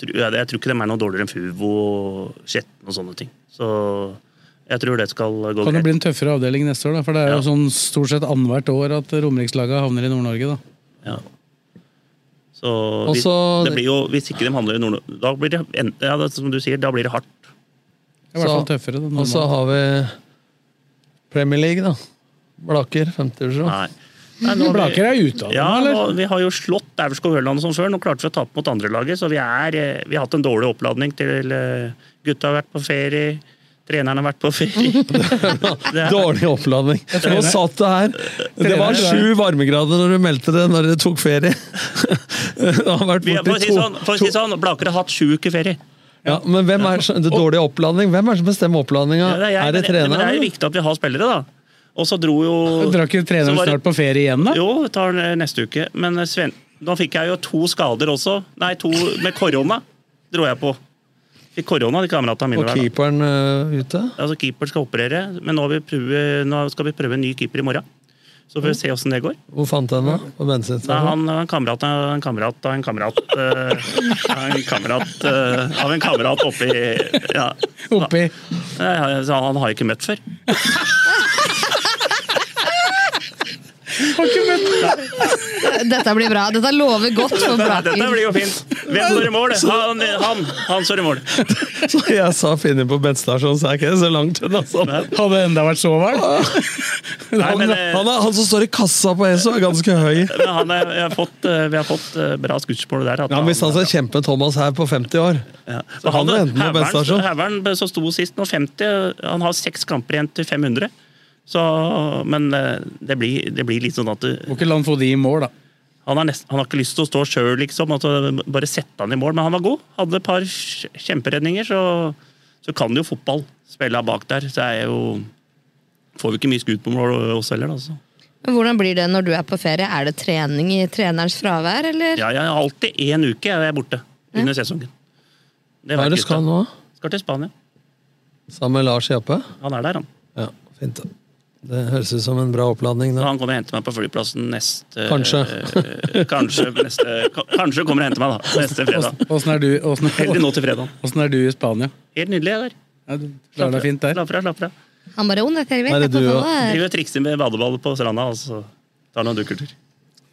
Speaker 6: tror jeg, jeg tror ikke de er noe dårligere enn Fuvo og Skjetten og sånne ting. Så jeg tror det skal gå
Speaker 2: Kan det
Speaker 6: greit.
Speaker 2: bli en tøffere avdeling neste år, da? For det er jo sånn stort sett annethvert år at Romerikslaga havner i Nord-Norge, da.
Speaker 6: Ja. Så
Speaker 2: Og
Speaker 6: hvis,
Speaker 2: så-
Speaker 6: det blir jo, hvis ikke de handler i nord da blir det, en- ja, det, er som du sier, da blir det hardt.
Speaker 2: Det er i hvert fall tøffere. da,
Speaker 5: Og så
Speaker 2: normalt.
Speaker 5: har vi Premier League, da. Blaker, femtedivisjon.
Speaker 6: Nei, nå-
Speaker 5: Blaker er ute av det,
Speaker 6: ja,
Speaker 5: eller?
Speaker 6: nå- vi har jo slått Aurskog Høland og sånn før. Nå klarte vi å tape mot andrelaget, så vi, er, eh, vi har hatt en dårlig oppladning til eh, Gutta har vært på ferie, treneren har vært på ferie.
Speaker 5: Dårlig oppladning. Nå satt det her. Det var sju varmegrader når du meldte det når dere tok ferie. Det har vært
Speaker 6: Vi, for å
Speaker 5: borti
Speaker 6: si
Speaker 5: to.
Speaker 6: sånn, for å si sånn Blaker har hatt sju uker ferie.
Speaker 5: Ja, men hvem er som- det dårlige oppladning? Hvem er det som bestemmer
Speaker 6: Ja,
Speaker 5: oppladninga?
Speaker 6: jeg,
Speaker 5: Er det
Speaker 6: men- Men det er
Speaker 5: treneren?
Speaker 6: jo viktig at vi har spillere, da. Og så dro jo
Speaker 2: Drar ikke treneren
Speaker 6: så var det-
Speaker 2: snart på ferie igjen, da?
Speaker 6: Jo, vi tar den eh, neste uke. Men Sven, da fikk jeg jo to skader også. Nei, to med korona dro jeg på. Fikk korona, de kameratene mine
Speaker 5: Og
Speaker 6: der. da.
Speaker 5: keeperen ø, ute?
Speaker 6: Altså, keeper skal operere, men nå, har vi prøve, nå skal vi prøve en ny keeper i morgen. Så får vi se åssen det går.
Speaker 5: Hvor fant du henne? På
Speaker 6: Nei, han
Speaker 5: bensinstasjonen?
Speaker 6: en kamerat av en kamerat av en kamerat eh, av en kamerat eh, av en kamerat oppi ja.
Speaker 2: Oppi.
Speaker 6: Nei, Så han har jeg ikke møtt før.
Speaker 1: Dette blir bra. Dette lover godt for
Speaker 6: Dette,
Speaker 1: Blaker.
Speaker 6: dette blir jo fint. Hvem står i mål? Han, han, han står i mål.
Speaker 5: Så jeg sa Finne på bensinstasjonen, så er ikke det så langt unna. sånn.
Speaker 2: Hadde det enda vært så varmt?
Speaker 5: Han,
Speaker 6: men, eh,
Speaker 5: han, er- han som står i kassa på ESO, er ganske høy.
Speaker 6: Men han, er- jeg har fått, eh, vi har fått eh, bra skussmål der. at
Speaker 5: Ja, men Hvis han skal kjempe med Thomas her på 50 år så han er enten på
Speaker 6: Heveren,
Speaker 5: bensinstasjon.
Speaker 6: Heveren som sto sist nå, 50, han har seks kamper igjen til 500. Så, men eh, det blir, det blir litt sånn at du,
Speaker 2: Må ikke la han få de i mål, da.
Speaker 6: han, er nesten, han har ikke lyst til å stå sjøl, liksom. Altså, bare sette han i mål. Men han var god. Hadde et par kjemperedninger, så, så kan det jo fotball. Spille bak der. Så er jo Får vi ikke mye skudd på mål oss heller, da. altså. Så.
Speaker 1: Men Hvordan blir det når du er på ferie? Er det trening i trenerens fravær, eller?
Speaker 6: Ja, jeg har alltid én uke jeg er borte under sesongen. Det
Speaker 5: Hva er det du
Speaker 6: vet gutta.
Speaker 5: skal nå?
Speaker 6: Skal til Spania.
Speaker 5: Sammen med Lars Jappe?
Speaker 6: Han er der, han.
Speaker 5: Ja, fint. Det høres ut som en bra oppladning.
Speaker 6: Så
Speaker 5: Da.
Speaker 6: han kommer og henter meg på flyplassen neste
Speaker 5: Kanskje.
Speaker 6: eh, kanskje, neste, ka- kanskje kommer og henter meg, da. Neste fredag.
Speaker 2: Åssen er, du- åssen-
Speaker 6: Heldig nå til fredag.
Speaker 2: åssen er du i Spania?
Speaker 6: Helt nydelig, jeg der.
Speaker 2: Ja, du klarer deg fint der?
Speaker 6: Slapp av, slapp av.
Speaker 1: Han bare 'Å, nei, jeg vet,
Speaker 5: Er
Speaker 1: jeg
Speaker 5: det du
Speaker 1: kan
Speaker 5: og-
Speaker 1: holde her».
Speaker 6: Driver og trikser med badeball på stranda og så tar noen dukkertur.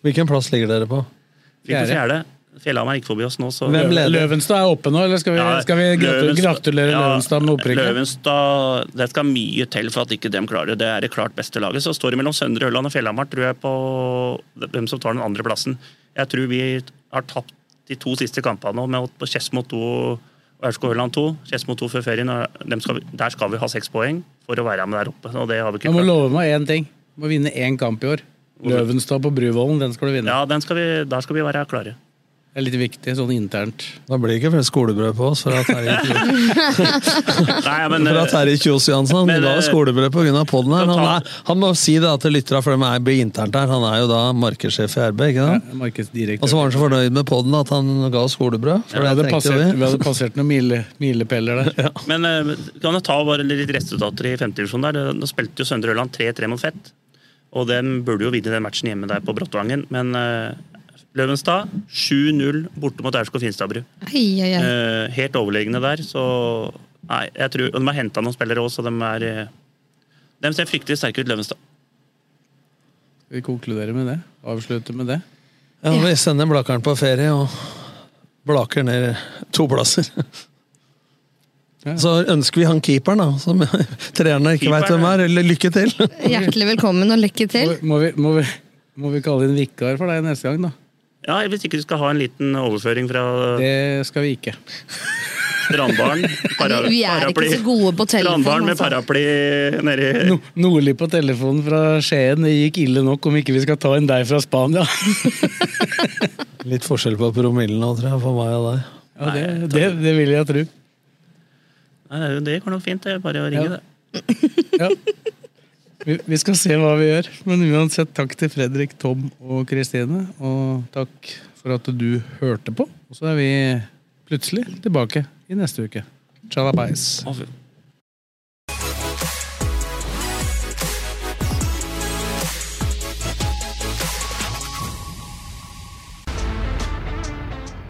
Speaker 5: Hvilken plass ligger dere på?
Speaker 6: Fikk på fjerde. Fjellhamar gikk forbi oss nå, så
Speaker 5: Hvem leder?
Speaker 2: Løvenstad er oppe nå, eller skal vi,
Speaker 6: Ja,
Speaker 2: Eh, skal vi gratu-
Speaker 6: Løvenstad-
Speaker 2: gratulere
Speaker 6: Ja,
Speaker 2: Løvenstad med opprykket?
Speaker 6: Løvenstad, Det skal mye til for at ikke dem klarer det. Det er det klart beste laget. Så står det mellom Søndre Ørland og Fjellhamar, tror jeg, på hvem som tar den andre plassen. Jeg tror vi har tapt de to siste kampene nå, med på Skedsmo 2 og Aurskog Ørland 2. Skedsmo 2 før ferien. og dem Skal vi, der skal vi ha seks poeng for å være med der oppe. og det har vi
Speaker 2: Jeg
Speaker 6: ikke
Speaker 2: må
Speaker 6: klart.
Speaker 2: love meg én ting. Du må vinne én kamp i år. Løvenstad på Bruvollen, den skal du vinne.
Speaker 6: Ja, den skal vi, Der skal vi være klare.
Speaker 2: Det er litt viktig, sånn internt.
Speaker 5: Da blir det ikke flere skolebrød på oss fra Terje,
Speaker 6: Nei, men,
Speaker 5: fra Terje Kjos Johansen.
Speaker 6: Men,
Speaker 5: Han ga
Speaker 6: eh,
Speaker 5: skolebrød pga. poden her.
Speaker 6: da
Speaker 5: Han,
Speaker 6: tar-
Speaker 5: er, han må si det til lytterne, for de er blir internt her. Han er jo da markedssjef i RB, ikke sant? Og så
Speaker 2: Markedsdirektør.
Speaker 5: var han så fornøyd med poden at han ga oss skolebrød. For
Speaker 2: Vi
Speaker 5: det
Speaker 2: hadde
Speaker 5: trengte
Speaker 2: passert, vi
Speaker 5: vi.
Speaker 2: hadde passert noen mile, milepæler der.
Speaker 6: Men eh, kan jeg ta bare litt resultater i femtedivisjonen der? Nå spilte jo Søndre Ørland 3-3 mot Fett. Og dem burde jo vinne den matchen hjemme der på Brottvangen. Men eh, Løvenstad 7-0 borte mot Aurskog Finstadbru.
Speaker 1: Ai, ai, ai.
Speaker 6: Eh, helt overlegne der, så Nei, jeg tror og De har henta noen spillere òg, så de er eh, De ser fryktelig sterke ut, Løvenstad.
Speaker 2: Skal vi konkludere med det? Avslutte med det?
Speaker 5: Ja, vi sender Blakeren på ferie og Blaker ned to plasser. Så ønsker vi han keeperen, da, som trenerne ikke veit hvem er. Eller lykke til!
Speaker 1: Hjertelig velkommen og lykke til.
Speaker 2: Må vi, må vi, må vi kalle inn vikar for deg neste gang, da?
Speaker 6: Ja, Hvis ikke du skal ha en liten overføring fra
Speaker 2: Det skal vi ikke.
Speaker 6: Strandbaren. para-
Speaker 1: Vi er ikke
Speaker 6: paraply.
Speaker 1: så gode på telefon,
Speaker 6: Strandbaren med
Speaker 1: altså.
Speaker 6: paraply nedi
Speaker 2: No, Nordli på telefonen fra Skien, det gikk ille nok om ikke vi skal ta inn deg fra Spania.
Speaker 5: Litt forskjell på promillen nå, tror jeg, for meg og deg.
Speaker 2: Ja, det, det, det vil jeg tro.
Speaker 6: Nei, det går nok fint, det. er Bare å ringe,
Speaker 2: Ja.
Speaker 6: det.
Speaker 2: Ja. Vi, vi skal se hva vi gjør. Men uansett, takk til Fredrik, Tom og Kristine. Og takk for at du hørte på. Og så er vi plutselig tilbake i neste uke. Tjalabais.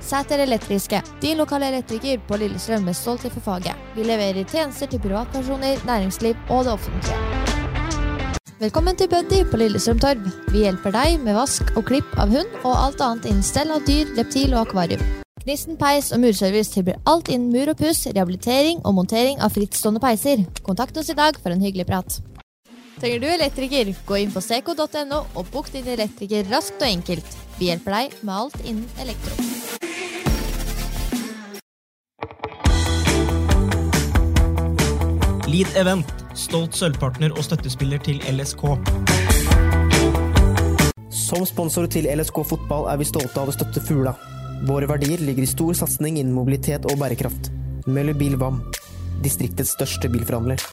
Speaker 5: Sæter Elektriske, din lokale elektriker på Lillestrøm med stolthet for faget. Vi leverer tjenester til privatpersoner, næringsliv og det offentlige. Velkommen til Buddy på Lillestrøm Torv. Vi hjelper deg med vask og klipp av hund og alt annet innen stell av dyr, reptil og akvarium. Gnisten peis og murservice tilbyr alt innen mur og puss, rehabilitering og montering av frittstående peiser. Kontakt oss i dag for en hyggelig prat. Trenger du elektriker, gå inn på seco.no og bok din elektriker raskt og enkelt. Vi hjelper deg med alt innen elektro.
Speaker 9: Lead Event, stolt sølvpartner og støttespiller til LSK.
Speaker 3: Som sponsor til LSK fotball er vi stolte av å støtte Fula. Våre verdier ligger i stor satsing innen mobilitet og bærekraft. Møller Bil VAM, distriktets største bilforhandler.